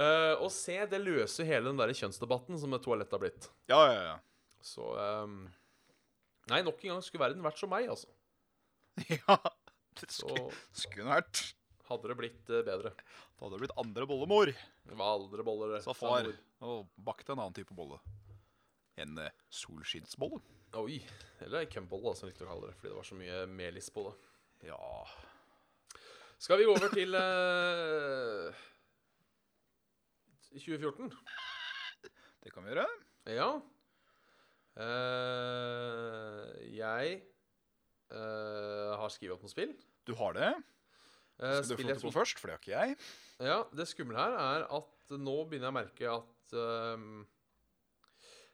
Speaker 1: Eh, og se, det løser hele den der kjønnsdebatten som et toalett har blitt.
Speaker 2: Ja, ja, ja.
Speaker 1: Så ehm, Nei, nok en gang skulle verden vært som meg, altså.
Speaker 2: ja. Det
Speaker 1: Så
Speaker 2: skulle, skulle vært.
Speaker 1: hadde det blitt eh, bedre.
Speaker 2: Da hadde det blitt andre bollemor,
Speaker 1: Valdreboller
Speaker 2: sa far. Og bakte en annen type bolle. en eh, solskinnsbolle.
Speaker 1: Oi. Eller ei cumbolle, da, som jeg likte å kalle det. Fordi det var så mye melis på det.
Speaker 2: Ja
Speaker 1: Skal vi gå over til eh, 2014?
Speaker 2: Det kan vi gjøre.
Speaker 1: Ja. Eh, jeg eh, har skrevet opp noen spill.
Speaker 2: Du har det.
Speaker 1: Eh,
Speaker 2: Skal du få
Speaker 1: spill jeg
Speaker 2: lov til å
Speaker 1: tror
Speaker 2: gå først, for det har ikke jeg.
Speaker 1: Ja, det skumle her er at nå begynner jeg å merke at ehm,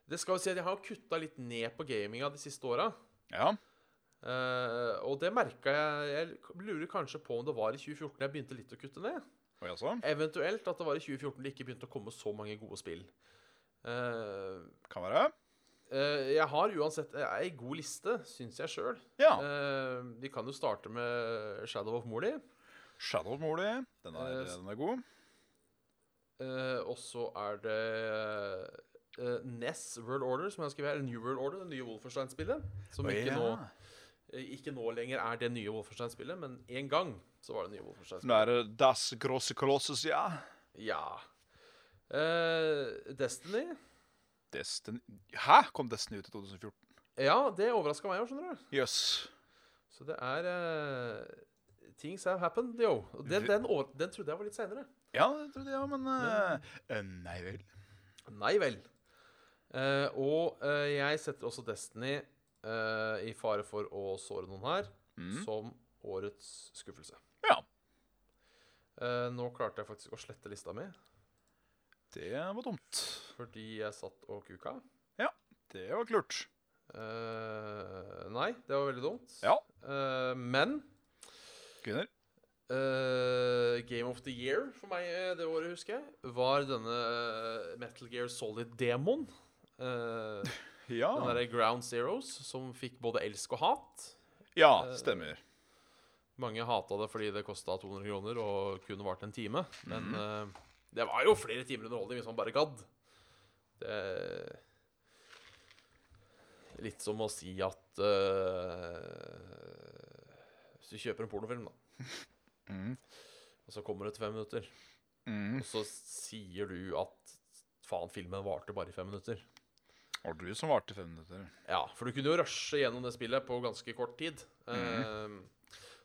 Speaker 1: Det skal jo si at jeg har kutta litt ned på gaminga de siste åra.
Speaker 2: Ja,
Speaker 1: Eh, og det merka jeg Jeg lurer kanskje på om det var i 2014 jeg begynte litt å kutte ned.
Speaker 2: og jeg også.
Speaker 1: Eventuelt at det var i 2014 det ikke begynte å komme så mange gode spill. Eh,
Speaker 2: Kan være.
Speaker 1: eh, jeg har uansett ei god liste, syns jeg sjøl.
Speaker 2: Ja.
Speaker 1: Eh, vi kan jo starte med Shadow of Moli.
Speaker 2: Shadow of Moli. Den er,
Speaker 1: Eh,
Speaker 2: den er god.
Speaker 1: Eh, og så er det eh, NES World Order, som jeg har skrevet her. eller New World Order, det nye Wolfenstein-spillet. Som
Speaker 2: Å,
Speaker 1: ikke,
Speaker 2: ja.
Speaker 1: nå, eh, ikke nå lenger er det nye Wolfenstein-spillet, men en gang så var det nye Wolfenstein-spillet.
Speaker 2: Den er eh, Das Grosse Colossus, ja.
Speaker 1: Ja. Eh, Destiny.
Speaker 2: Destiny Hæ? Kom Destiny ut i 2014?
Speaker 1: Ja, det overraska meg òg, skjønner du.
Speaker 2: Jøss.
Speaker 1: Så det er eh, Things have happened, yo. Og den, den, over- den trodde jeg var litt seinere.
Speaker 2: Ja, det trodde jeg, men eh, eh, Nei vel.
Speaker 1: Nei vel. Eh, og eh, jeg setter også Destiny eh, i fare for å såre noen her som årets skuffelse.
Speaker 2: Mm. Ja.
Speaker 1: Eh, nå klarte jeg faktisk å slette lista mi
Speaker 2: Det var dumt.
Speaker 1: fordi jeg satt og kuka.
Speaker 2: Det var ikke lurt.
Speaker 1: Eh, nei, det var veldig dumt.
Speaker 2: Ja.
Speaker 1: Eh, men
Speaker 2: Kvinner.
Speaker 1: eh, Game of the Year for meg eh, det året, husker jeg, var denne eh, Metal Gear Solid-demoen. Eh,
Speaker 2: Ja.
Speaker 1: Den derre Ground Zeros som fikk både elsk og hat.
Speaker 2: ja,
Speaker 1: eh,
Speaker 2: stemmer.
Speaker 1: Mange hata det fordi det kosta 200 kroner og kunne vart en time. Men eh, det var jo flere timer underholdning hvis man bare gadd. Det er Litt som å si at eh, Hvis du kjøper en pornofilm, da,
Speaker 2: Mm.
Speaker 1: og så kommer det til fem minutter,
Speaker 2: Mm.
Speaker 1: og så sier du at faen, filmen varte bare i fem minutter.
Speaker 2: Var det du som varte fem minutter?
Speaker 1: Ja, for du kunne jo rushe gjennom det spillet på ganske kort tid.
Speaker 2: Mhm.
Speaker 1: Eh,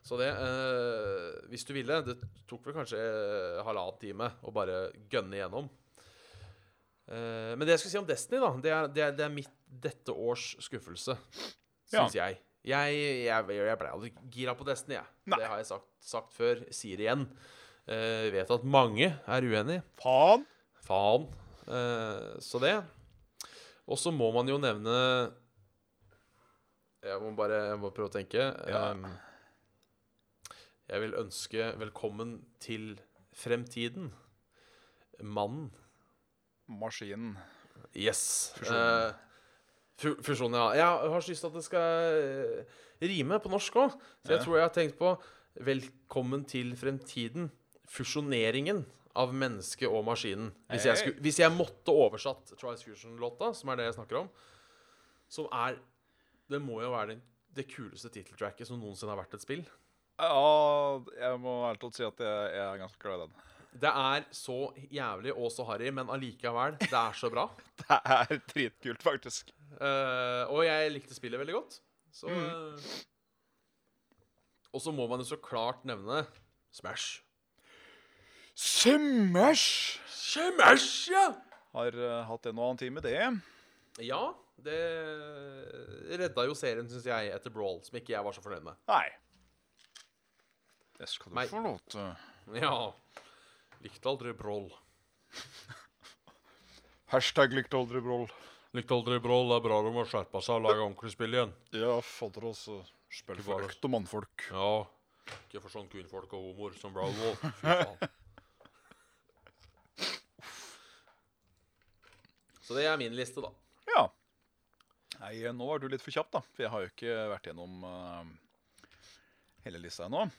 Speaker 1: så det eh, Hvis du ville. Det tok vel kanskje eh, halvannen time å bare gønne gjennom. Eh, men det jeg skulle si om Destiny, da, det er, det er, det er mitt dette års skuffelse,
Speaker 2: Ja.
Speaker 1: syns jeg. Jeg, jeg, jeg ble aldri gira på Destiny, jeg.
Speaker 2: Nei.
Speaker 1: Det har jeg sagt, sagt før. Sier det igjen. Eh, vet at mange er uenig.
Speaker 2: Faen!
Speaker 1: Faen. Eh, så det. Og så må man jo nevne Jeg må bare jeg må prøve å tenke.
Speaker 2: Ja.
Speaker 1: Em, jeg vil ønske velkommen til fremtiden. Mannen.
Speaker 2: Maskinen.
Speaker 1: Yes.
Speaker 2: Fusjonen.
Speaker 1: Eh, fu- fusjonen, ja. Jeg har så lyst til at det skal eh, rime på norsk òg. Så jeg
Speaker 2: Ja.
Speaker 1: tror jeg har tenkt på Velkommen til fremtiden. Fusjoneringen av mennesket og maskinen. Hvis jeg,
Speaker 2: Hey.
Speaker 1: skulle, hvis jeg måtte oversatt Trice Fusion-låta, som er det jeg snakker om, som er Det må jo være den, det kuleste titteltracket som noensinne har vært et spill.
Speaker 2: Ja, jeg må ærlig talt si at jeg, jeg er ganske glad i den.
Speaker 1: Det er så jævlig og så harry, men allikevel, det er så bra.
Speaker 2: Det er dritkult, faktisk.
Speaker 1: Eh, og jeg likte spillet veldig godt. Så eh, Og så må man jo så klart nevne Smash.
Speaker 2: Smash!
Speaker 1: Smash, ja!
Speaker 2: Har eh, hatt en og annen time, det.
Speaker 1: Ja, det redda jo serien, syns jeg, etter Brawl, som ikke jeg var så fornøyd med.
Speaker 2: Nei. Det skal du
Speaker 1: Nei.
Speaker 2: få lov til.
Speaker 1: Ja. Likte aldri Brawl.
Speaker 2: Hashtag likt aldri broll.
Speaker 1: Likte aldri Brawl. Det er bra de har skjerpa seg og laga ordentlig spill igjen.
Speaker 2: Ja, fader altså. Spill
Speaker 1: for
Speaker 2: økt og mannfolk.
Speaker 1: Ja. Ikke for sånn kvinnfolk og homoer som Brawl Wolf. Fy faen. Så det er min liste, da.
Speaker 2: Ja. Nei, eh, nå var du litt for kjapp, da. For jeg har jo ikke vært gjennom eh, hele lista ennå.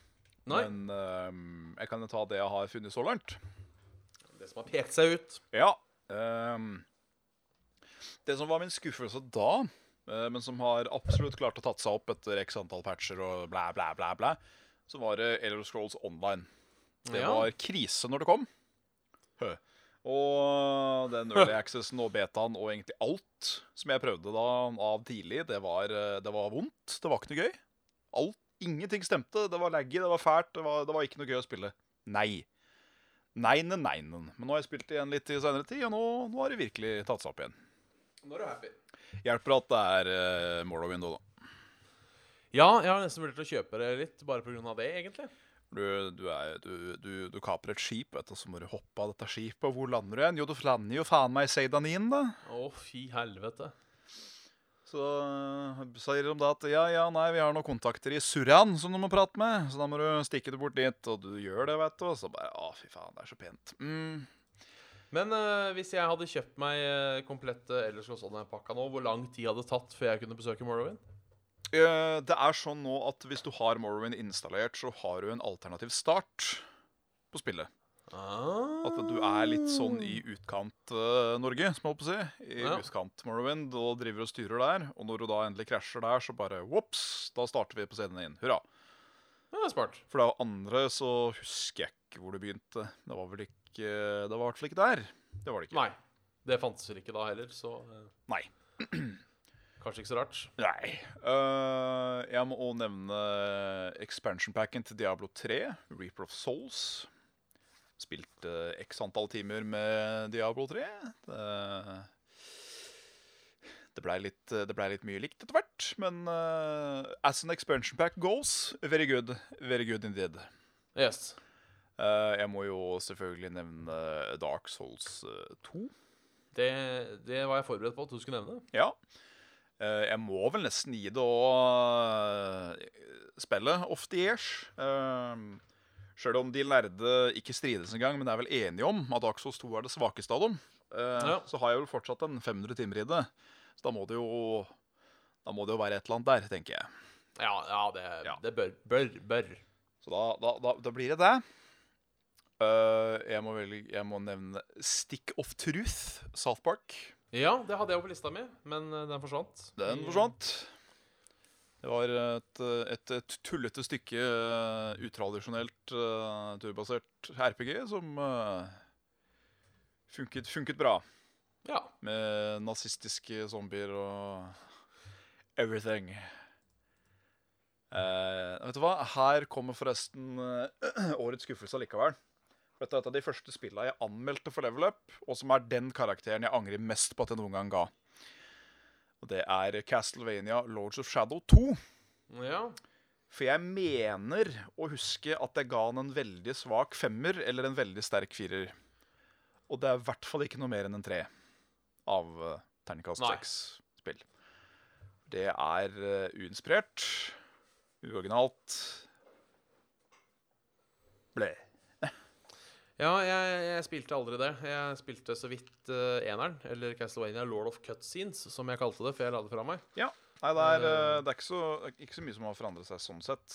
Speaker 1: Nei.
Speaker 2: Men eh, jeg kan jo ta det jeg har funnet så langt.
Speaker 1: Det som har pekt seg ut.
Speaker 2: Ja. ehm, det som var min skuffelse da, eh, men som har absolutt klart å tatt seg opp etter x antall patcher og blæ, blæ, blæ, blæ, så var det Elder Scrolls Online. Det
Speaker 1: Ja.
Speaker 2: var krise når det kom. Hø. Og den early accessen og betaen og egentlig alt som jeg prøvde da av tidlig, det var, eh, det var vondt. Det var ikke noe gøy. Alt, ingenting stemte. Det var laggy, det var fælt, det var, det var ikke noe gøy å spille. Nei. Neinen, neinen. Men nå har jeg spilt igjen litt i seinere tid, og nå, nå har det virkelig tatt seg opp igjen.
Speaker 1: Nå er du happy.
Speaker 2: Hjelper at det er eh, Morrowind òg, da.
Speaker 1: Ja, jeg har nesten vurdert å kjøpe det litt bare pga. det, egentlig.
Speaker 2: Du, du, er, du, du, du kaper et skip, vet du, så må du hoppe av dette skipet. Og hvor lander du igjen? Jo, du lander jo faen meg i Seidanin, da.
Speaker 1: Å, fy helvete.
Speaker 2: Så øh, sier de da at ja, ja, nei, vi har noen kontakter i Surran som du må prate med. Så da må du stikke det bort dit, og du gjør det, vet du. Og så bare å, fy faen, det er så pent. Mm.
Speaker 1: Men eh, hvis jeg hadde kjøpt meg eh, komplette Ellers pakka nå, hvor lang tid hadde det tatt før jeg kunne besøke Morrowind?
Speaker 2: Eh, Det er sånn nå at hvis du har Morrowind installert, så har du en alternativ start på spillet.
Speaker 1: Ah.
Speaker 2: At du er litt sånn i utkant-Norge, som jeg holdt på å si. I
Speaker 1: Ja.
Speaker 2: utkant Morrowind, og driver og styrer der. Og når du da endelig krasjer der, så bare whoops, da starter vi på scenen inn. Hurra.
Speaker 1: Ja, det er smart.
Speaker 2: For det andre så husker jeg ikke hvor det begynte. Det var vel ikke Det var i hvert fall ikke der. Det var det ikke.
Speaker 1: Nei. Det fantes vel ikke da heller, så eh,
Speaker 2: Nei.
Speaker 1: kanskje ikke så rart.
Speaker 2: Nei. Øh, jeg må òg nevne expansion packen til Diablo 3, Reaper of Souls. Spilte x antall timer med Diablo 3. Det, det blei litt, det ble litt mye likt etter hvert, men øh, as an expansion pack goes, very good. Very good indeed.
Speaker 1: Yes.
Speaker 2: Eh, jeg må jo selvfølgelig nevne Dark Souls eh, 2.
Speaker 1: Det, det var jeg forberedt på at du skulle nevne.
Speaker 2: Ja. Eh, jeg må vel nesten gi det å eh, spille off the years. Sjøl Eh, om de lærde ikke strides engang, men er vel enige om at Dark Souls 2 er det svakeste av dem, eh,
Speaker 1: Ja.
Speaker 2: så har jeg vel fortsatt en 500 timer i det. Så da må det jo da må det jo være et eller annet der, tenker jeg.
Speaker 1: Ja, ja det,
Speaker 2: Ja.
Speaker 1: det bør, bør, bør.
Speaker 2: Så da, da, da, da blir det det. Eh, jeg, må velge, jeg må nevne Stick of Truth, South Park.
Speaker 1: Ja, det hadde jeg jo på lista mi, men eh, den forsvant.
Speaker 2: Den
Speaker 1: I-
Speaker 2: forsvant. Det var et, et, et tullete stykke eh, utradisjonelt eh, turbasert RPG som eh, funket, funket bra.
Speaker 1: Ja.
Speaker 2: Med nazistiske zombier og everything. Eh, vet du hva? Her kommer forresten eh, årets skuffelse allikevel. For Dette er et av de første spillene jeg anmeldte for Level Up, og som er den karakteren jeg angrer mest på at jeg noen gang ga. Og det er Castlevania Lords of Shadow 2.
Speaker 1: ja.
Speaker 2: For jeg mener å huske at jeg ga han en veldig svak femmer eller en veldig sterk firer. Og det er i hvert fall ikke noe mer enn en tre av eh, terningkast
Speaker 1: Nei.
Speaker 2: seks-spill. Det er eh, uinspirert, uoriginalt Ble.
Speaker 1: Ja, jeg, jeg spilte aldri det. Jeg spilte så vidt eh, eneren, eller Castlevania Lord of Cutscenes, som jeg kalte det før jeg la det fra meg.
Speaker 2: Nei, det er, eh, det er ikke, så, ikke så mye som har forandret seg sånn sett.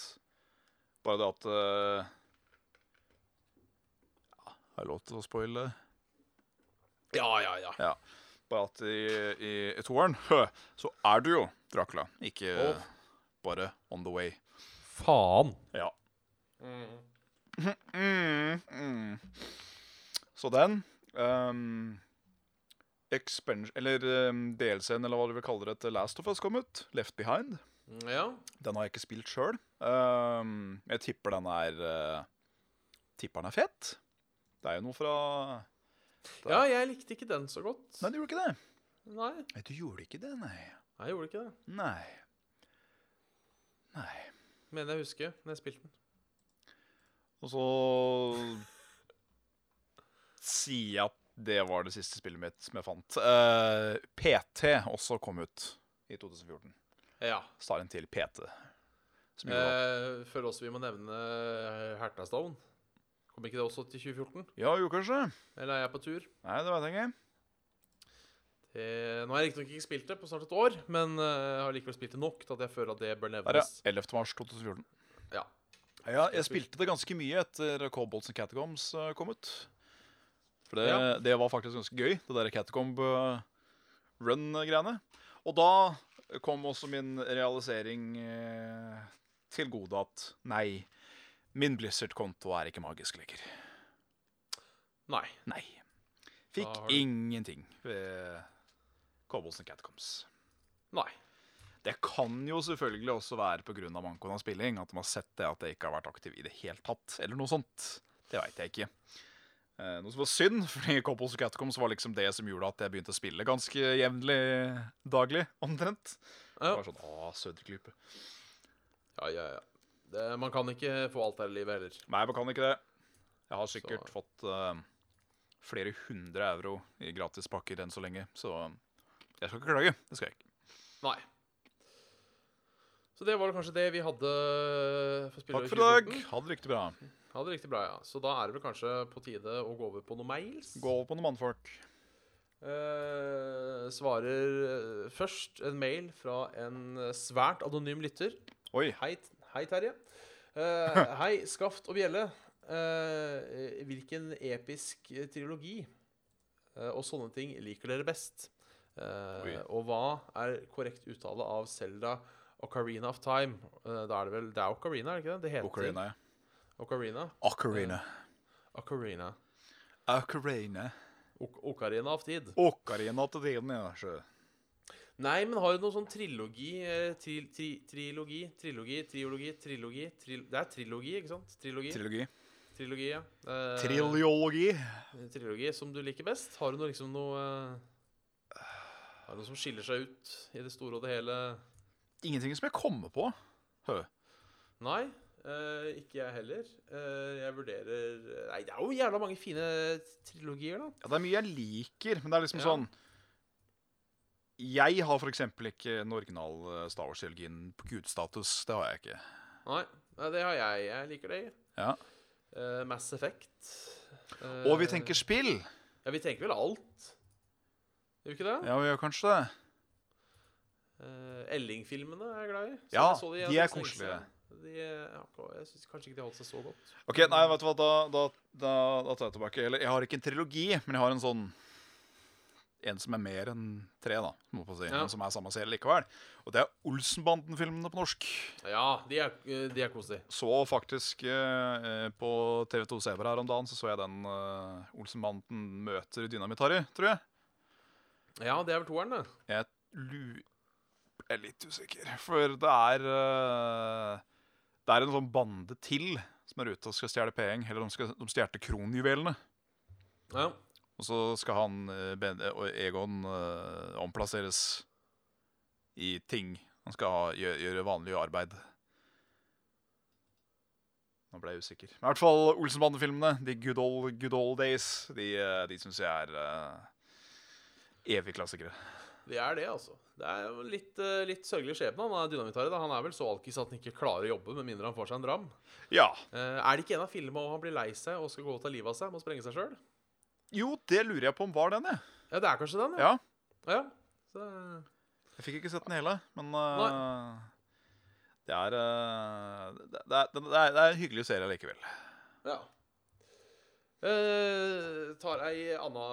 Speaker 2: Bare det at eh, ja, Har jeg lov til å spoile?
Speaker 1: Ja, ja, ja.
Speaker 2: Bare at i, i, i toeren hø, så er du jo Dracula, ikke
Speaker 1: Åh.
Speaker 2: bare on the way.
Speaker 1: Faen.
Speaker 2: Ja. Mm, mm. Så den um, expansion, Eller um, DLC-en, eller hva du vil kalle det, til Last of Us kom ut. Left Behind.
Speaker 1: Ja.
Speaker 2: Den har jeg ikke spilt sjøl. Um, jeg tipper den er uh, Tipper den er fet. Det er jo noe fra
Speaker 1: ja, jeg likte ikke den så godt.
Speaker 2: Nei, du gjorde ikke det.
Speaker 1: Nei,
Speaker 2: Nei, du gjorde ikke det, nei.
Speaker 1: jeg gjorde ikke det.
Speaker 2: Nei. Nei.
Speaker 1: Mener jeg husker når jeg spilte den.
Speaker 2: Og så sier jeg at det var det siste spillet mitt som jeg fant. Eh, PT også kom ut i 2014.
Speaker 1: Ja.
Speaker 2: Starren til PT. Som gjorde at-
Speaker 1: Eh, føler også vi må nevne Hertastone. Kom ikke det også til 2014?
Speaker 2: Ja, jo, kanskje.
Speaker 1: Eller er jeg på tur?
Speaker 2: Nei, det vet jeg ikke.
Speaker 1: Eh, nå har jeg riktignok ikke spilt det på snart et år, men eh, jeg har likevel spilt det nok til at jeg føler at det bør
Speaker 2: Der, ja.
Speaker 1: nevnes.
Speaker 2: 11. mars 2014.
Speaker 1: Ja.
Speaker 2: Ja, jeg spilte det ganske mye etter Cobolts and Catacombs eh, kom ut. For det,
Speaker 1: Ja.
Speaker 2: det var faktisk ganske gøy, det der Catacomb eh, run-greiene. Og da kom også min realisering eh, til gode at nei, min Blizzard-konto er ikke magisk lenger.
Speaker 1: Nei.
Speaker 2: Nei.
Speaker 1: Da har
Speaker 2: Fikk
Speaker 1: du-
Speaker 2: ingenting ved Cobbles and Catacombs.
Speaker 1: Nei.
Speaker 2: Det kan jo selvfølgelig også være pga. mankoen av spilling. At de har sett det at jeg ikke har vært aktiv i det hele tatt. Eller noe sånt. Det veit jeg ikke. Eh, noe som var synd, fordi Couples of Catacombs var liksom det som gjorde at jeg begynte å spille ganske jevnlig daglig, omtrent. Det
Speaker 1: Ja.
Speaker 2: var sånn, å, Søderklype.
Speaker 1: Ja, ja, ja. Det, man kan ikke få alt her i livet heller.
Speaker 2: Nei, man kan ikke det. Jeg har sikkert
Speaker 1: Så-
Speaker 2: fått eh, flere hundre euro i gratispakker enn så lenge, så jeg skal ikke klage. Det skal jeg ikke.
Speaker 1: Nei. Så det var vel kanskje det vi hadde for spillet
Speaker 2: Takk for i dag.
Speaker 1: 2014.
Speaker 2: Ha det riktig bra.
Speaker 1: Ja, det er riktig bra, ja. Så da er det vel kanskje på tide å gå over på noen mails.
Speaker 2: Gå over på noen mannfolk.
Speaker 1: Eh, svarer eh, først en mail fra en eh, svært anonym lytter.
Speaker 2: Oi.
Speaker 1: Hei, hei Terje. Eh, hei, Skaft og Bjelle. Eh, hvilken episk trilogi eh, og sånne ting liker dere best? Eh,
Speaker 2: Oi.
Speaker 1: og hva er korrekt uttale av Selda Ocarina of Time? Eh, da er det vel Det er Ocarina, er det ikke det? Det heter
Speaker 2: Ocarina.
Speaker 1: Ocarina.
Speaker 2: Ocarina.
Speaker 1: Ocarina.
Speaker 2: Ocarina.
Speaker 1: Ok- Ocarina av tid.
Speaker 2: Ocarina til tiden, ja. sjø.
Speaker 1: Nei, men har du noe sånn trilogi eh, tri, tri, Trilogi, trilogi, triologi, trilogi tril, Det er trilogi, ikke sant? Trilogi.
Speaker 2: Trilogi.
Speaker 1: trilogi, ja. Eh,
Speaker 2: Trilogi.
Speaker 1: trilogi som du liker best? Har du noe liksom noe eh, Har du noe som skiller seg ut i det store og det hele?
Speaker 2: Ingenting som jeg kommer på. Hø.
Speaker 1: Nei. eh, ikke jeg heller. Eh, jeg vurderer Nei, det er jo jævla mange fine trilogier, da.
Speaker 2: Ja, det er mye jeg liker, men det er liksom
Speaker 1: Ja.
Speaker 2: sånn Jeg har f.eks. ikke den originale eh, Star Wars-helgen på gudstatus. Det har jeg ikke.
Speaker 1: Nei, nei det har jeg. Jeg liker det.
Speaker 2: Ja.
Speaker 1: Eh, Mass Effect. Eh,
Speaker 2: Og vi tenker spill.
Speaker 1: Ja, vi tenker vel alt. Gjør vi ikke det?
Speaker 2: Ja, vi gjør kanskje det.
Speaker 1: Eh, Elling-filmene er jeg glad i. Så
Speaker 2: Ja,
Speaker 1: jeg så
Speaker 2: de er
Speaker 1: for lenge
Speaker 2: koselige.
Speaker 1: siden. De, er- ja, ok, jeg syns kanskje ikke de holdt seg så godt.
Speaker 2: OK, nei, vet du hva, da, da, da, da tar jeg tilbake. Eller jeg har ikke en trilogi, men jeg har en sånn En som er mer enn tre, da, må jeg få si.
Speaker 1: Ja.
Speaker 2: Men som er samme serie likevel. Og det er Olsenbanden-filmene på norsk.
Speaker 1: Ja, de er, eh, de er koselige.
Speaker 2: Så faktisk eh, eh, på TV2 Sebra her om dagen, så så jeg den eh, Olsenbanden møter Dynamitt-Harry, tror jeg.
Speaker 1: Ja, det er vel toeren, det.
Speaker 2: Jeg lu- jeg er litt usikker, for det er eh, Det er en sånn bande til som er ute og skal stjele penger, eller de, skal, de stjerte kronjuvelene.
Speaker 1: Ja.
Speaker 2: Og så skal han, eh, Ben- eh, og Egon, eh, omplasseres i ting. Han skal ha, gjøre, gjøre vanlig arbeid. Nå ble jeg usikker. Men i hvert fall Olsenbanden-filmene, de good old, good old days, de, eh, de syns jeg er eh, evige klassikere.
Speaker 1: De er det, altså. Det er jo litt, eh, litt sørgelig skjebne. Han er dynamitare. da. Han er vel så alkis at han ikke klarer å jobbe med mindre han får seg en dram.
Speaker 2: Ja.
Speaker 1: Eh, er det ikke en av filmene hvor han blir lei seg og skal gå og ta livet av seg? Må sprenge seg sjøl?
Speaker 2: Jo, det lurer jeg på om var den, jeg.
Speaker 1: Ja, det er kanskje den,
Speaker 2: Ja.
Speaker 1: ja. Så,
Speaker 2: Jeg fikk ikke sett den hele, men eh, det, er, eh, det, det, er, det, er, det er en hyggelig serie likevel.
Speaker 1: ja. Eh, tar ei anna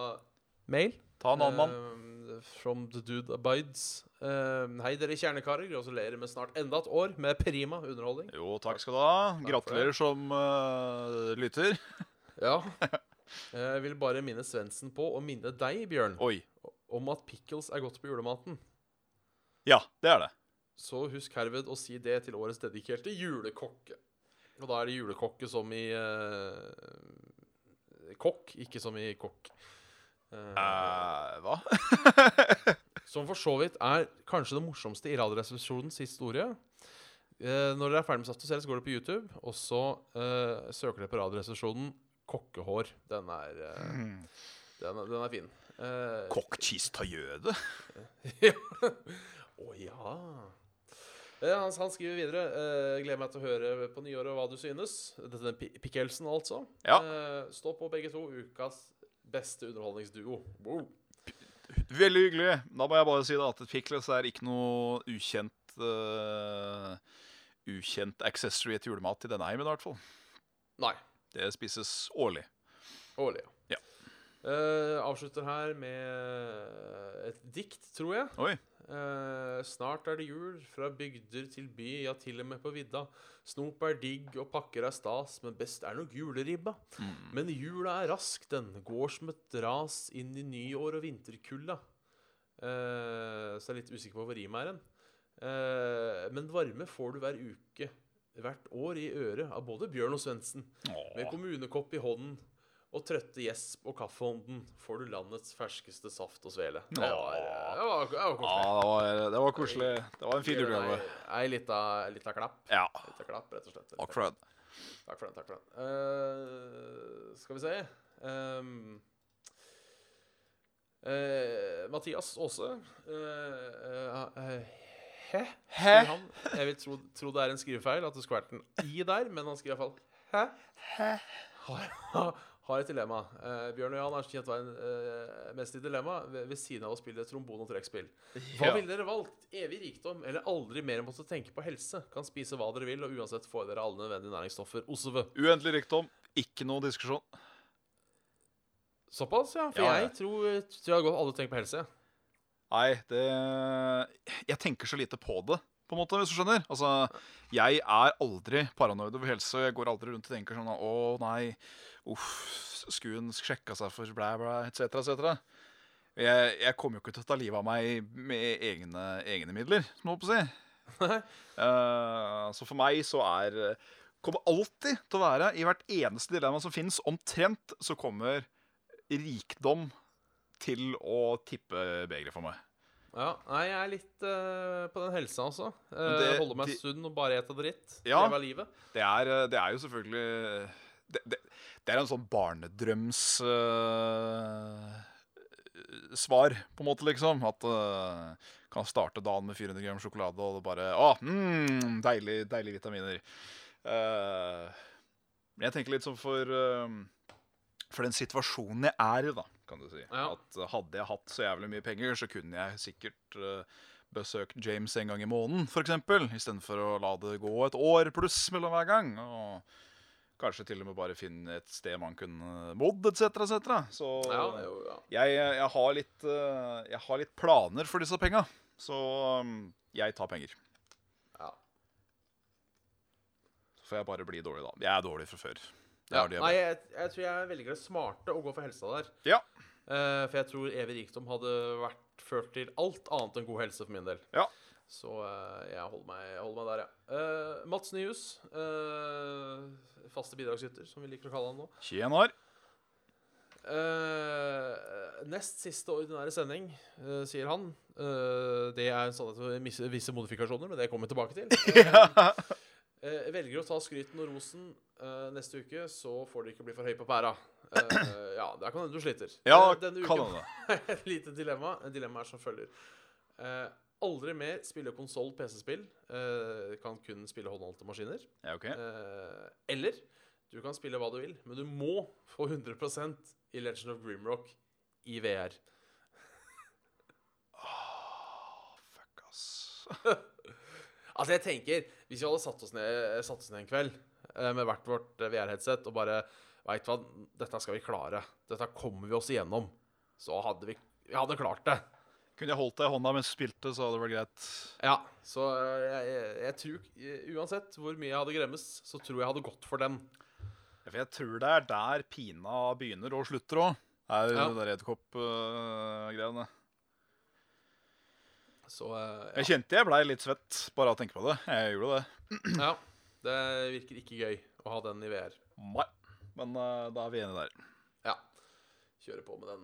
Speaker 1: mail.
Speaker 2: Ta en annen mann.
Speaker 1: Eh, From the dude abides. Eh, hei, dere kjernekarer. Gratulerer med snart enda et år med prima underholdning.
Speaker 2: Jo, takk skal du ha.
Speaker 1: Takk for
Speaker 2: Gratulerer som eh, lytter.
Speaker 1: Ja. Jeg vil bare minne Svendsen på å minne deg, Bjørn,
Speaker 2: Oi.
Speaker 1: om at pickles er godt på julematen.
Speaker 2: Ja, det er det.
Speaker 1: Så husk herved å si det til årets dedikerte julekokke. Og da er det julekokke som i eh, kokk, ikke som i kokk. Eh,
Speaker 2: Eh, hva?
Speaker 1: Som for så vidt er kanskje det morsomste i Radioresepsjonens historie. Eh, når dere er ferdig med Saft og Sel, så går dere på YouTube, og så eh, søker dere på Radioresepsjonen 'Kokkehår'. Den er, eh, den, er- den er fin. Eh,
Speaker 2: Kokk cheese tajøde?
Speaker 1: Å ja. Eh, han, han skriver videre eh, 'Gleder meg til å høre på nyåret hva du synes'. Dette er Pi- Pikkelsen, altså.
Speaker 2: Ja.
Speaker 1: Eh, stå på begge to. Ukas beste underholdningsduo. Wow.
Speaker 2: Veldig hyggelig. Da må jeg bare si da at Pickles er ikke noe ukjent eh, Ukjent accessory til julemat i denne heimen, i hvert fall.
Speaker 1: Nei.
Speaker 2: Det spises årlig.
Speaker 1: Årlig,
Speaker 2: Ja.
Speaker 1: Eh, avslutter her med et dikt, tror jeg.
Speaker 2: Oi.
Speaker 1: Eh, snart er det jul, fra bygder til by, ja til og med på vidda. Snop er digg og pakker er stas, men best er nok juleribba. Men jula er rask, den går som et ras inn i nyår og vinterkulda. Eh, så jeg er litt usikker på hvor rimet er hen. Eh, men varme får du hver uke, hvert år, i øret av både Bjørn og Svendsen. Med kommunekopp i hånden og trøtte gjesp og kaffehånden får du landets ferskeste saft og svele. Det var, det var, det var koselig.
Speaker 2: Ja, det var, det var koselig. Det var en fin julegave.
Speaker 1: Ei lita, lita klapp.
Speaker 2: Ja.
Speaker 1: Lita klapp, rett og slett.
Speaker 2: Og crud.
Speaker 1: Takk for den. takk for den. Eh, Skal vi se Ehm, eh, Mathias Aase eh, eh, Hæ? Hæ? Han, jeg vil tro, tro det er en skrivefeil, at det skulle vært en i der, men han skriver iallfall Hæ? Har, har et dilemma. Eh, Bjørn og Jan er som kjent verden eh, mest i dilemma ved, ved siden av å spille trombon og trekkspill. Hva ville dere valgt? Evig rikdom eller aldri mer måtte tenke på helse? Kan spise hva dere vil, og uansett får dere alle nødvendige næringsstoffer. Osv.
Speaker 2: Uendelig rikdom. Ikke noe diskusjon.
Speaker 1: Såpass, ja. For
Speaker 2: Ja, ja.
Speaker 1: jeg tror, eh, tror jeg godt alle tenker på helse.
Speaker 2: Nei, det Jeg tenker så lite på det, på en måte, hvis du skjønner. Altså, jeg er aldri paranoid over helse, og jeg går aldri rundt og tenker sånn Å, nei, uff, skulle hun sjekka seg for blæ, blæ, etc., etc. Jeg, jeg kommer jo ikke til å ta livet av meg med egne, egne midler, som jeg holdt på å si. Eh, så for meg så er Kommer alltid til å være, i hvert eneste dilemma som fins, omtrent så kommer rikdom til å tippe begeret for meg.
Speaker 1: Ja, nei, jeg er litt eh, på den helsa, altså.
Speaker 2: Men
Speaker 1: Uh,
Speaker 2: det-
Speaker 1: Holde meg
Speaker 2: de-
Speaker 1: sunn og bare ete dritt.
Speaker 2: Ja.
Speaker 1: Leve av livet.
Speaker 2: Det er, eh, det er jo selvfølgelig eh, det, det, det er en sånn barnedrøms øh, Svar, på en måte, liksom. At øh, kan starte dagen med 400 gram sjokolade, og det bare Å, mm, deilig, deilige vitaminer. Eh, Men jeg tenker litt sånn for øh, For den situasjonen jeg er i, da, kan du si.
Speaker 1: Ja.
Speaker 2: At øh, hadde jeg hatt så jævlig mye penger, så kunne jeg sikkert øh, besøkt James en gang i måneden, f.eks. Istedenfor å la det gå et år pluss mellom hver gang. Og kanskje til og med bare finne et sted man kunne bodd, etc., etc. Så
Speaker 1: Ja, det er jo, ja.
Speaker 2: jeg, jeg, har litt, eh, jeg har litt planer for disse penga. Så um, jeg tar penger.
Speaker 1: Ja.
Speaker 2: Så får jeg bare bli dårlig, da. Jeg er dårlig fra før. Jeg
Speaker 1: Ja.
Speaker 2: har det jeg-
Speaker 1: Nei, jeg, jeg tror jeg velger det smarte og går for helsa der.
Speaker 2: Ja.
Speaker 1: Eh, for jeg tror evig rikdom hadde vært ført til alt annet enn god helse for min del.
Speaker 2: Ja.
Speaker 1: Så eh, jeg holder meg, jeg holder meg der, ja. Eh, Mats Nyhus, eh, faste bidragsyter, som vi liker å kalle han nå.
Speaker 2: Tjenar.
Speaker 1: Eh, nest siste ordinære sending, eh, sier han. Eh, det er en sannhet med mis- visse modifikasjoner, men det kommer vi tilbake til. Eh, eh, velger å ta skryten og rosen eh, neste uke, så får det ikke bli for høy på pæra. Eh, ja, der kan hende du sliter.
Speaker 2: Ja,
Speaker 1: Eh, Denne
Speaker 2: kan
Speaker 1: uken
Speaker 2: hende.
Speaker 1: et lite dilemma. Dilemmaet er som følger. Eh, aldri mer spille konsoll PC-spill. Eh, kan kun spille håndholdte maskiner.
Speaker 2: Ja, ok.
Speaker 1: Eh, eller du kan spille hva du vil, men du må få 100 i Legend of Grimrock i VR.
Speaker 2: Ah, Fuck, ass.
Speaker 1: Altså, jeg tenker, hvis vi hadde satt oss ned, satt oss ned en kveld eh, med hvert vårt VR-headset og bare Veit hva, dette skal vi klare. Dette kommer vi oss igjennom. Så hadde vi Vi hadde klart det.
Speaker 2: Kunne jeg holdt deg i hånda mens du spilte, så hadde det vært greit.
Speaker 1: Ja, så eh, jeg, jeg, jeg tror eh, Uansett hvor mye jeg hadde gremmes, så tror jeg hadde gått for den.
Speaker 2: Ja, For jeg tror det er der pina begynner og slutter òg. Er jo
Speaker 1: Ja.
Speaker 2: det der edderkoppgreiene.
Speaker 1: Så eh,
Speaker 2: Jeg kjente jeg blei litt svett bare av å tenke på det. Jeg gjorde det.
Speaker 1: ja, ja. Det virker ikke gøy å ha den i VR.
Speaker 2: Nei. Men eh, da er vi enige der.
Speaker 1: Ja. Kjøre på med den.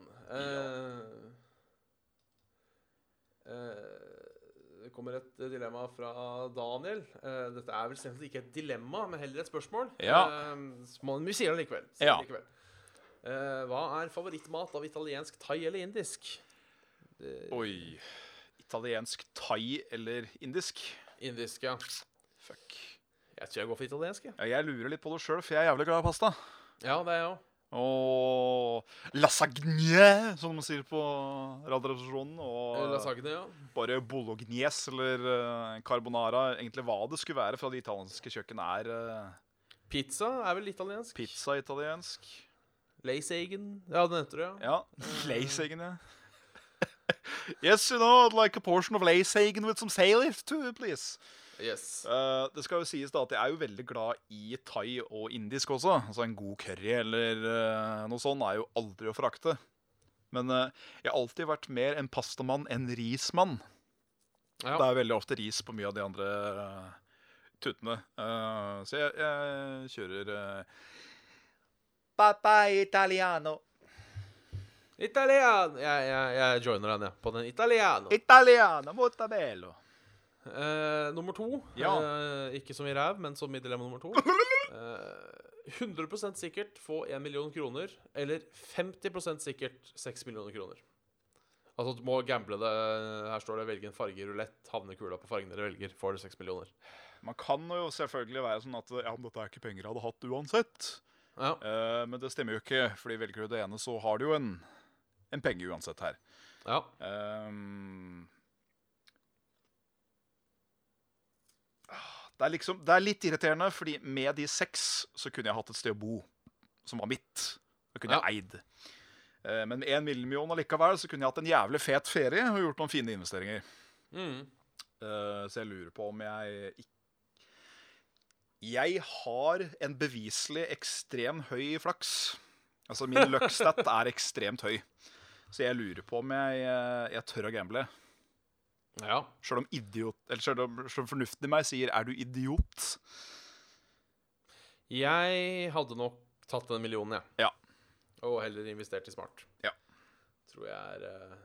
Speaker 1: Eh, eh, det kommer et dilemma fra Daniel. Eh, dette er vel strengt tatt ikke et dilemma, men heller et spørsmål.
Speaker 2: Ja.
Speaker 1: Eh, så man- vi sier det likevel. Sier
Speaker 2: Ja.
Speaker 1: det likevel. Eh, hva er favorittmat av italiensk, thai eller indisk? Eh, Det,
Speaker 2: Oi. Italiensk, thai eller indisk?
Speaker 1: indisk, ja.
Speaker 2: Fuck.
Speaker 1: Jeg tror jeg går for italiensk, jeg.
Speaker 2: Ja, jeg lurer litt på det sjøl, for jeg er jævlig glad i pasta.
Speaker 1: Ja, det er jeg òg.
Speaker 2: Og lasagne, som de sier på Radioresepsjonen. Og
Speaker 1: Lasagne, ja.
Speaker 2: bare bolognese eller eh, carbonara. Egentlig hva det skulle være fra det italienske kjøkkenet, er eh,
Speaker 1: Pizza er vel italiensk?
Speaker 2: pizza italiensk.
Speaker 1: Lace Egan. Ja, det nevnte du, ja.
Speaker 2: Ja. Leis, egentlig. Yes, you know, I'd like a portion of Layshagen with some sailors too, please.
Speaker 1: Yes.
Speaker 2: Eh, det skal jo sies da at jeg er jo veldig glad i thai og indisk også. Altså En god curry eller eh, noe sånt er jo aldri å frakte. Men eh, jeg har alltid vært mer en pastamann enn rismann.
Speaker 1: Ja.
Speaker 2: Det er veldig ofte ris på mye av de andre eh, tutene. Eh, så jeg, jeg kjører eh, Pappa italiano.
Speaker 1: Italian! Jeg, jeg, jeg joiner den, jeg. På den italiano.
Speaker 2: Italiano molto bello.
Speaker 1: Eh, nummer to.
Speaker 2: Ja.
Speaker 1: Eh, ikke som i ræv, men som i dilemma nummer to. Eh, 100 sikkert få 1 million kroner, eller 50 sikkert 6 millioner kroner. Altså du må gamble det. Her står det 'velge en farge i rulett'. Havne kula på fargen dere velger, får dere 6 millioner.
Speaker 2: Man kan jo selvfølgelig være sånn at ja, men dette er ikke penger jeg hadde hatt uansett.
Speaker 1: Ja.
Speaker 2: Eh, men det stemmer jo ikke, fordi velger du det ene, så har du jo en, en penge uansett her.
Speaker 1: ja.
Speaker 2: Ehm. Ah, det, er liksom, det er litt irriterende, fordi med de seks så kunne jeg hatt et sted å bo som var mitt. Da kunne
Speaker 1: Ja.
Speaker 2: jeg eid. Eh, men med én million allikevel så kunne jeg hatt en jævlig fet ferie og gjort noen fine investeringer.
Speaker 1: Mm.
Speaker 2: Eh, så jeg lurer på om jeg ikk- Jeg har en beviselig ekstrem høy flaks. Altså, min løkkstat er ekstremt høy. Så jeg lurer på om jeg, eh, jeg tør å gamble.
Speaker 1: ja.
Speaker 2: Sjøl om, idiot- eller selv om, selv om fornuften i meg sier 'er du idiot'?
Speaker 1: Jeg hadde nok tatt den millionen, jeg.
Speaker 2: Ja.
Speaker 1: Og heller investert i smart.
Speaker 2: Ja.
Speaker 1: Tror jeg er eh,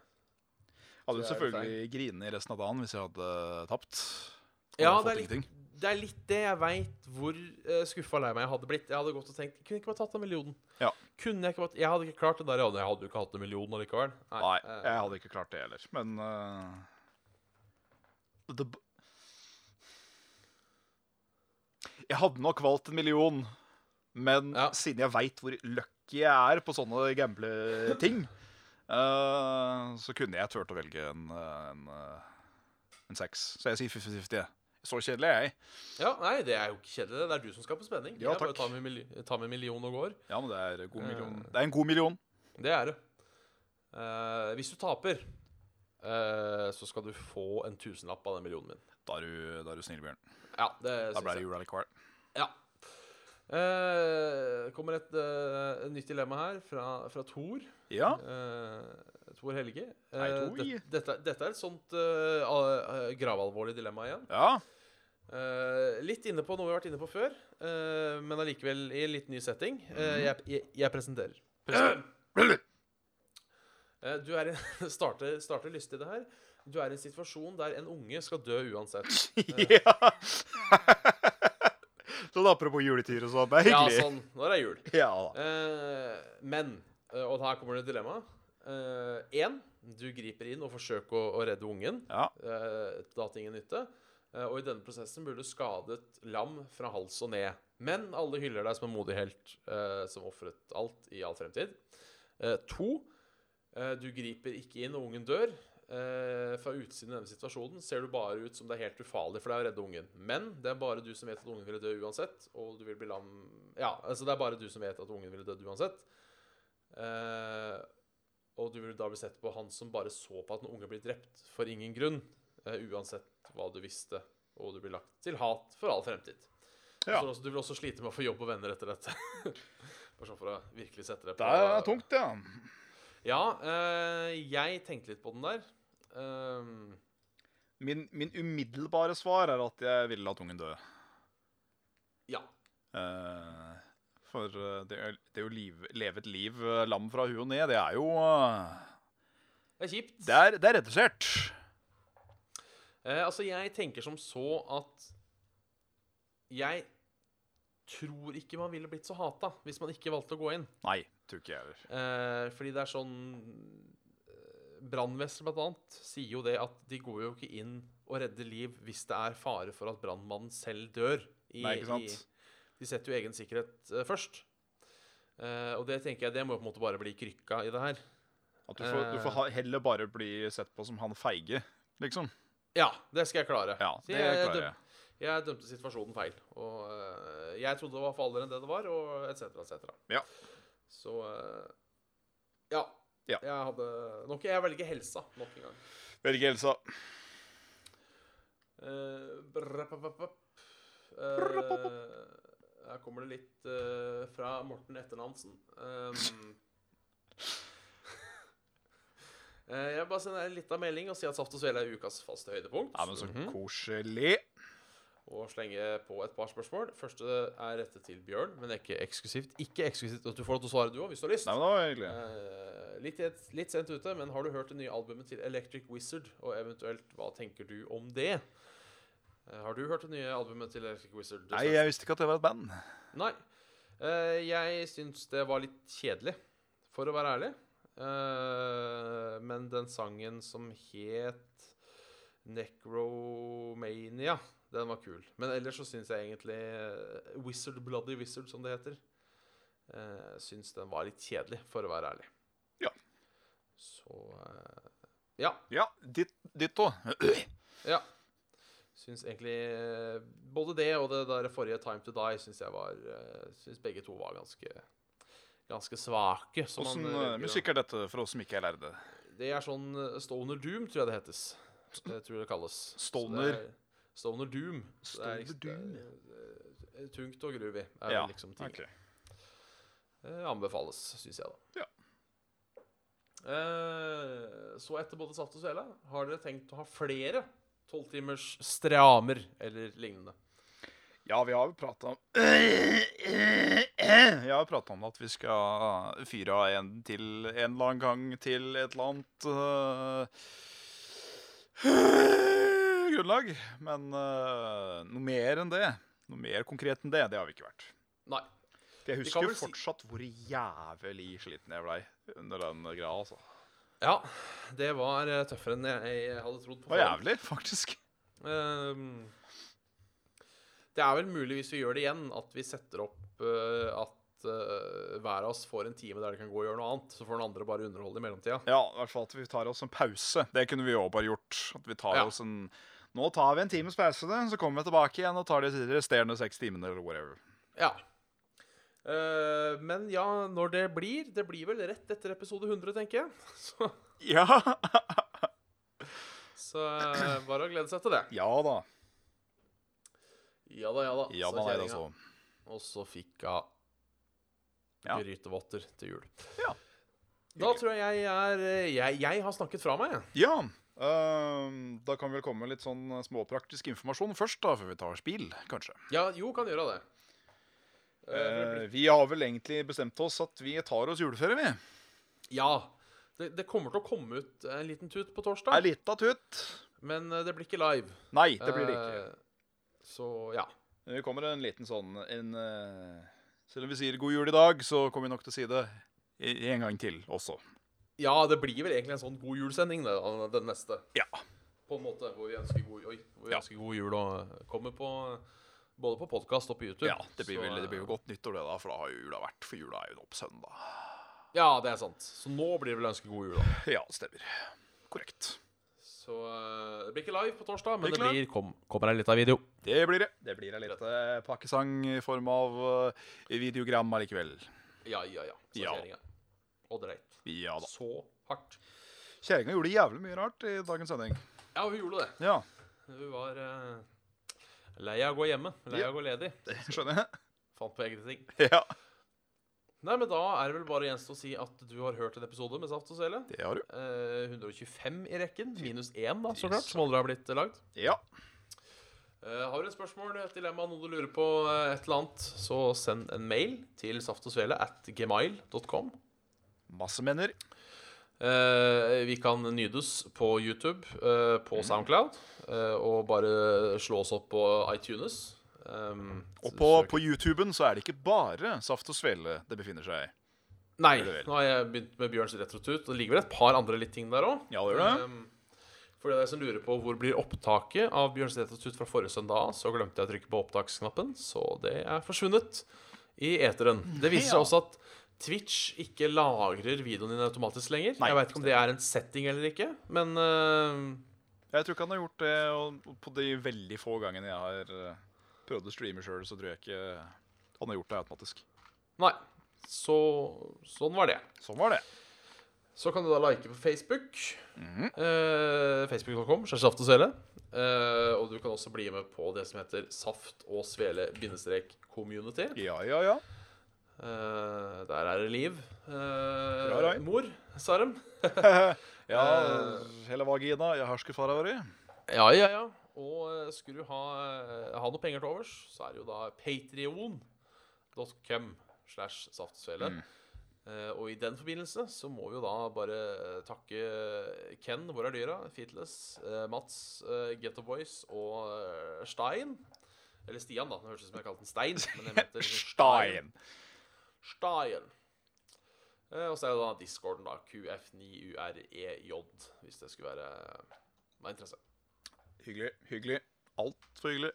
Speaker 2: Hadde
Speaker 1: Så er det
Speaker 2: selvfølgelig grinet resten av dagen hvis jeg hadde tapt. Og
Speaker 1: Ja,
Speaker 2: fått
Speaker 1: det er, litt,
Speaker 2: ingenting.
Speaker 1: det er litt det jeg veit hvor uh, skuffa og lei meg jeg hadde blitt. Jeg hadde gått og tenkt Kunne jeg ikke bare tatt den millionen?
Speaker 2: Ja.
Speaker 1: Kunne Jeg ikke bare Jeg hadde ikke klart det der. Jeg hadde- jeg hadde jo ikke hatt en million allikevel.
Speaker 2: Nei,
Speaker 1: eh,
Speaker 2: jeg hadde ikke klart det heller. Men eh, det, b- Jeg hadde nok valgt en million, men
Speaker 1: Ja.
Speaker 2: siden jeg veit hvor lucky jeg er på sånne gambleting, eh, så kunne jeg turt å velge en, eh, en, eh, en seks. Så jeg sier 50-50. jeg. Så kjedelig er jeg.
Speaker 1: ja, nei, det er jo ikke kjedelig. Det Det er du som skaper spenning.
Speaker 2: Ja,
Speaker 1: jeg bare
Speaker 2: takk.
Speaker 1: tar med, milli- tar med million og går.
Speaker 2: Ja, men det er, god
Speaker 1: Eh.
Speaker 2: million. det er en god million.
Speaker 1: Det er det. Eh, hvis du taper, eh, så skal du få en tusenlapp av den millionen min.
Speaker 2: Da er du, da er du snill, Bjørn.
Speaker 1: Ja, det
Speaker 2: Da
Speaker 1: syns
Speaker 2: ble
Speaker 1: jeg.
Speaker 2: det jul allikevel.
Speaker 1: Ja. Eh, kommer et eh, nytt dilemma her, fra, fra Thor.
Speaker 2: Ja.
Speaker 1: Eh, Tor Helge. Eh,
Speaker 2: Hei, Tor.
Speaker 1: det- dette, dette er et sånt eh, al- eh, gravalvorlig dilemma igjen.
Speaker 2: ja.
Speaker 1: Eh, litt inne på noe vi har vært inne på før, eh, men allikevel i en litt ny setting. Eh, jeg, jeg, jeg presenterer. Eh, du er i- starter, starter lystig det her. Du er i en situasjon der en unge skal dø uansett.
Speaker 2: Ja. sånn apropos juletyr og sånn. Det er
Speaker 1: Ja,
Speaker 2: hyggelig.
Speaker 1: sånn. Når er jul.
Speaker 2: Ja, da.
Speaker 1: Eh, men, eh, og her kommer det et dilemma. Én, du griper inn og forsøker å, å redde ungen.
Speaker 2: Ja.
Speaker 1: eh, da til ingen nytte. Eh, og i denne prosessen blir du skadet lam fra hals og ned. Men alle hyller deg som en modig helt eh, som ofret alt i all fremtid. Eh, to, eh, du griper ikke inn, og ungen dør. Eh, fra utsiden av denne situasjonen ser du bare ut som det er helt ufarlig for deg å redde ungen. Men det er bare du som vet at ungen ville dø uansett, og du vil bli lam Ja, altså det er bare du som vet at ungen ville dødd uansett. Eh, og du vil da bli sett på han som bare så på at en unge blir drept for ingen grunn, eh, uansett hva du visste, og du blir lagt til hat for all fremtid. Du
Speaker 2: Ja.
Speaker 1: står Også, du vil også slite med å få jobb og venner etter dette. Bare sånn for å virkelig sette det på
Speaker 2: Det er tungt, ja.
Speaker 1: Ja, eh, jeg tenkte litt på den der. Ehm,
Speaker 2: Min, min umiddelbare svar er at jeg ville latt ungen dø.
Speaker 1: ja.
Speaker 2: Eh, for eh, det, er- det å liv, leve et liv eh, lam fra huet og ned, det er jo eh,
Speaker 1: Det er kjipt.
Speaker 2: Det er, det er redusert.
Speaker 1: Eh, altså, jeg tenker som så at Jeg tror ikke man ville blitt så hata hvis man ikke valgte å gå inn.
Speaker 2: Nei, tror ikke jeg heller.
Speaker 1: Eh, fordi det er sånn eh, Brannvesen blant annet sier jo det at de går jo ikke inn og redder liv hvis det er fare for at brannmannen selv dør. i-
Speaker 2: Nei, ikke sant?
Speaker 1: I, de setter jo egen sikkerhet eh, først. Eh, og det tenker jeg, det må på en måte bare bli krykka i det her.
Speaker 2: At du får, du får
Speaker 1: Eh.
Speaker 2: ha- heller bare bli sett på som han feige, liksom.
Speaker 1: Ja, det skal jeg klare.
Speaker 2: Ja,
Speaker 1: Så
Speaker 2: det
Speaker 1: jeg,
Speaker 2: klarer
Speaker 1: døm-
Speaker 2: jeg.
Speaker 1: Jeg dømte situasjonen feil. Og eh, jeg trodde det var farligere enn det det var, og etc., etc.
Speaker 2: Ja.
Speaker 1: Så eh, Ja.
Speaker 2: Ja.
Speaker 1: Jeg hadde nok, Jeg velger helsa nok en gang.
Speaker 2: Velge Elsa.
Speaker 1: Eh, brapapapap. Eh, her kommer det litt eh, fra Morten Etternavnsen. Um, eh, jeg vil bare sender en liten melding og si at Saft og Svele er ukas faste høydepunkt. Mhm.
Speaker 2: Ja, men så koselig.
Speaker 1: Og slenge på et par spørsmål. Første er rettet til Bjørn, men ikke eksklusivt. Ikke eksklusivt at du får lov til å svare, du òg, hvis du har lyst.
Speaker 2: Nei, men det var hyggelig.
Speaker 1: Eh, litt, litt sent ute, men har du hørt det nye albumet til Electric Wizard? Og eventuelt, hva tenker du om det? Eh, har du hørt det nye albumet til Electric Wizard?
Speaker 2: Nei, jeg visste ikke at det var et band.
Speaker 1: Nei. Eh, jeg syns det var litt kjedelig, for å være ærlig. Eh, men den sangen som het Necromania, den var kul. Men ellers så syns jeg egentlig eh, Wizard Bloody Wizard, som det heter, eh, syns den var litt kjedelig, for å være ærlig.
Speaker 2: Ja.
Speaker 1: Så eh, Ja.
Speaker 2: Ja, ditt, ditt også.
Speaker 1: Ja. Syns egentlig eh, Både det og det der forrige Time to Die syns jeg var eh, Syns begge to var ganske Ganske svake. som man,
Speaker 2: Åssen
Speaker 1: eh, velger, da.
Speaker 2: musikk er dette for oss som ikke er lærde?
Speaker 1: Det er sånn eh, Stoner Doom, tror jeg det hetes. Det tror jeg det kalles. Så
Speaker 2: Stoner.
Speaker 1: det er- Stoner Doom. Så det er liksom-
Speaker 2: Stoner Doom,
Speaker 1: det er, eh, Tungt og groovy er
Speaker 2: Ja,
Speaker 1: vel liksom tingen.
Speaker 2: ok.
Speaker 1: Eh, anbefales, syns jeg, da.
Speaker 2: Ja.
Speaker 1: Eh, så etter både Saft og Svele, har dere tenkt å ha flere tolvtimers stramer eller lignende?
Speaker 2: Ja, vi har jo prata om Jeg har prata om at vi skal fyre av en til en eller annen gang til et eller annet eh, øh, grunnlag. Men øh, noe mer enn det, noe mer konkret enn det, det har vi ikke vært.
Speaker 1: Nei.
Speaker 2: For Jeg
Speaker 1: Vi kan
Speaker 2: husker
Speaker 1: vel si-
Speaker 2: fortsatt hvor jævlig sliten jeg blei under den greia. altså.
Speaker 1: Ja, det var eh, tøffere enn jeg, jeg hadde trodd. på
Speaker 2: Det var
Speaker 1: forhånd.
Speaker 2: jævlig, faktisk.
Speaker 1: Ehm, det er vel mulig, hvis vi gjør det igjen, at vi setter opp eh, at eh, hver av oss får en time der de kan gå og gjøre noe annet. Så får den andre bare underholde i mellomtida.
Speaker 2: Ja, i hvert fall at vi tar oss en pause. Det kunne vi jo bare gjort. At vi tar
Speaker 1: Ja.
Speaker 2: oss en Nå tar vi en times pause, da, så kommer vi tilbake igjen og tar de resterende seks timene eller whatever.
Speaker 1: Ja. Eh, men ja, når det blir Det blir vel rett etter episode 100, tenker jeg. Så,
Speaker 2: Ja,
Speaker 1: så eh, bare å glede seg til det.
Speaker 2: ja da.
Speaker 1: Ja da, ja da.
Speaker 2: Ja
Speaker 1: sa
Speaker 2: da, nei,
Speaker 1: kjerringa.
Speaker 2: altså.
Speaker 1: Og så fikk hun
Speaker 2: Ja.
Speaker 1: grytevotter til jul.
Speaker 2: Ja.
Speaker 1: Da tror jeg jeg er Jeg, jeg har snakket fra meg, jeg.
Speaker 2: Ja. ehm, da kan vi vel komme med litt sånn småpraktisk informasjon først, da, før vi tar spill, kanskje.
Speaker 1: Ja, jo, kan gjøre det. Eh, for det blir-
Speaker 2: Eh, vi har vel egentlig bestemt oss at vi tar oss juleferie, vi.
Speaker 1: ja. Det, det kommer til å komme ut en liten tut på
Speaker 2: Ei
Speaker 1: torsdag,
Speaker 2: lita tut.
Speaker 1: men eh, det blir ikke live.
Speaker 2: Nei, det blir det ikke.
Speaker 1: Eh, Så ja.
Speaker 2: Det kommer en liten sånn en, eh, Selv om vi sier god jul i dag, så kommer vi nok til å si det i- en gang til også.
Speaker 1: Ja, det blir vel egentlig en sånn god julesending, det, da, den neste.
Speaker 2: Ja.
Speaker 1: På en måte, hvor vi ønsker god, oi, hvor vi
Speaker 2: Ja.
Speaker 1: ønsker god jul og eh, kommer på både på podkast og på YouTube.
Speaker 2: Ja, det blir,
Speaker 1: Så,
Speaker 2: vel, det blir jo
Speaker 1: eh,
Speaker 2: godt nyttår, det, da, for da har jo jula vært. For jula er jo nå på søndag.
Speaker 1: Ja, det er sant. Så nå blir det vel ønske god jul, da.
Speaker 2: Ja, det stemmer. Korrekt.
Speaker 1: Så eh, det blir ikke live på torsdag, men det,
Speaker 2: Blir ikke
Speaker 1: blir, kom, kommer ei lita video.
Speaker 2: Det blir det. Det blir en liten eh, pakkesang i form av eh, videogram allikevel.
Speaker 1: Ja, ja, ja. Så
Speaker 2: Ja.
Speaker 1: kjerringa. Og dreit.
Speaker 2: Ja da.
Speaker 1: Så hardt.
Speaker 2: Kjerringa gjorde jævlig mye rart i dagens sending.
Speaker 1: Ja, hun gjorde det.
Speaker 2: Ja,
Speaker 1: Hun var eh, lei av å gå hjemme. Lei av å gå ledig.
Speaker 2: det skjønner jeg.
Speaker 1: Fant på egne ting.
Speaker 2: Ja,
Speaker 1: Nei, men da er det vel bare gjenstående å si at du har hørt en episode med Saft og Sele.
Speaker 2: det har du.
Speaker 1: Eh, 125 i rekken. Minus én, da, så klart. Som aldri har blitt lagd.
Speaker 2: Ja.
Speaker 1: Eh, har du et spørsmål, et dilemma, noe du lurer på, eh, et eller annet, så send en mail til saftogsvele at gmail.com.
Speaker 2: Masse menner.
Speaker 1: Eh, vi kan nydes på YouTube, eh,
Speaker 2: Mhm.
Speaker 1: på Soundcloud, eh, og bare slå oss opp på iTunes. Um,
Speaker 2: Og på, på YouTuben så er det ikke bare Saft og Svele det befinner seg i.
Speaker 1: Nei,
Speaker 2: det vel.
Speaker 1: nå har jeg begynt med Bjørns retrotut. og Det ligger vel et par andre litt ting der òg.
Speaker 2: Ja, det gjør det.
Speaker 1: for dere som lurer på hvor blir opptaket av Bjørns retrotut fra forrige søndag, så glemte jeg å trykke på opptaksknappen, så det er forsvunnet i eteren. Det viser seg
Speaker 2: Ja.
Speaker 1: også at Twitch ikke lagrer videoen din automatisk lenger.
Speaker 2: Nei,
Speaker 1: jeg veit ikke om det er en setting eller ikke, men eh,
Speaker 2: Jeg tror ikke han har gjort det, og og på de veldig få gangene jeg har eh, prøvd å streame sjøl, så tror jeg ikke han har gjort det automatisk.
Speaker 1: Nei. Så sånn var det.
Speaker 2: Sånn var det.
Speaker 1: Så kan du da like på Facebook. Mhm. eh, Facebook.com. skjær Saft og Svele. Eh, og du kan også bli med på det som heter Saft og Svele-community.
Speaker 2: Ja, ja, ja.
Speaker 1: Eh, der er det liv. Eh,
Speaker 2: rai.
Speaker 1: mor, sa dem.
Speaker 2: Ja,
Speaker 1: Eh,
Speaker 2: eh, hele vagina. Jeg har ikke fara vår i.
Speaker 1: Ja, ja, ja. Og eh, skulle du ha, eh, ha noe penger til overs, så er det jo da patrion.com slash saftsvele. Eh, og i den forbindelse så må vi jo da bare eh, takke Ken, hvor er dyra? Featles, eh, Mats, uh, Getto Boys og eh, Stein. Eller Stian, da. Det høres ut som jeg kalte den Stein. Men jeg mente liksom
Speaker 2: Stein.
Speaker 1: Stein. Eh, og så er det da discorden, da. QF9UREJ, E hvis det skulle være eh, av interesse.
Speaker 2: Hyggelig. Hyggelig. Altfor hyggelig.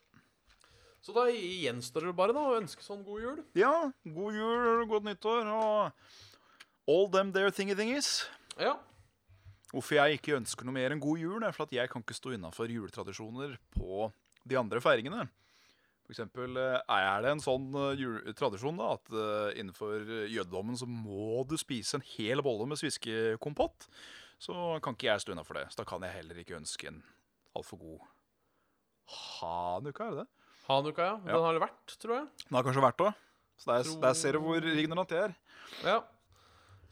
Speaker 1: Så da gjenstår det bare da å ønske sånn god jul.
Speaker 2: Ja, god jul, godt nyttår og all them there thingy-thingies.
Speaker 1: Ja.
Speaker 2: Hvorfor jeg ikke ønsker noe mer enn god jul, er for at jeg kan ikke stå innafor juletradisjoner på de andre feiringene. For eksempel eh, er det en sånn eh, jul- tradisjon da, at eh, innenfor jødedommen så må du spise en hel bolle med sviskekompott. Så kan ikke jeg stå innafor det. Så da kan jeg heller ikke ønske en altfor god hanukka, er det det?
Speaker 1: Hanukka, ja. Den
Speaker 2: Ja.
Speaker 1: har det vært, tror jeg.
Speaker 2: Den har kanskje vært det. Så der, der ser du hvor ignorant jeg er.
Speaker 1: Ja.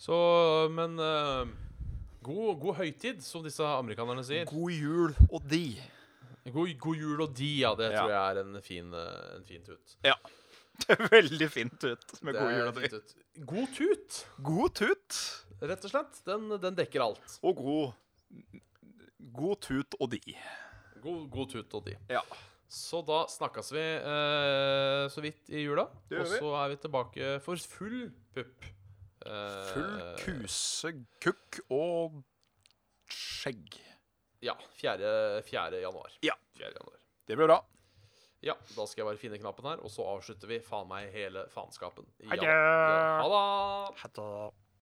Speaker 1: Så, men eh, god, god høytid, som disse amerikanerne sier.
Speaker 2: God jul og de.
Speaker 1: God, god jul og de, ja. Det
Speaker 2: Ja.
Speaker 1: tror jeg er en fin, eh, en fin tut.
Speaker 2: Ja. Det er veldig fint ut med
Speaker 1: Det
Speaker 2: god
Speaker 1: er
Speaker 2: jul
Speaker 1: en
Speaker 2: og
Speaker 1: fin
Speaker 2: de.
Speaker 1: tut. God tut,
Speaker 2: God tut
Speaker 1: rett og slett. Den, den dekker alt.
Speaker 2: og god God tut og de.
Speaker 1: God, god tut og de.
Speaker 2: Ja.
Speaker 1: Så da snakkes vi eh, så vidt i jula.
Speaker 2: Det gjør
Speaker 1: Og
Speaker 2: vi.
Speaker 1: så er vi tilbake for full pupp. Eh,
Speaker 2: Full kuse, kukk og skjegg.
Speaker 1: Ja. 4. 4. januar.
Speaker 2: Ja.
Speaker 1: 4. januar.
Speaker 2: Det blir bra.
Speaker 1: Ja, da skal jeg bare finne knappen her, og så avslutter vi faen meg hele faenskapen. i
Speaker 2: Ha det.
Speaker 1: januar. Ha det!
Speaker 2: Ha det.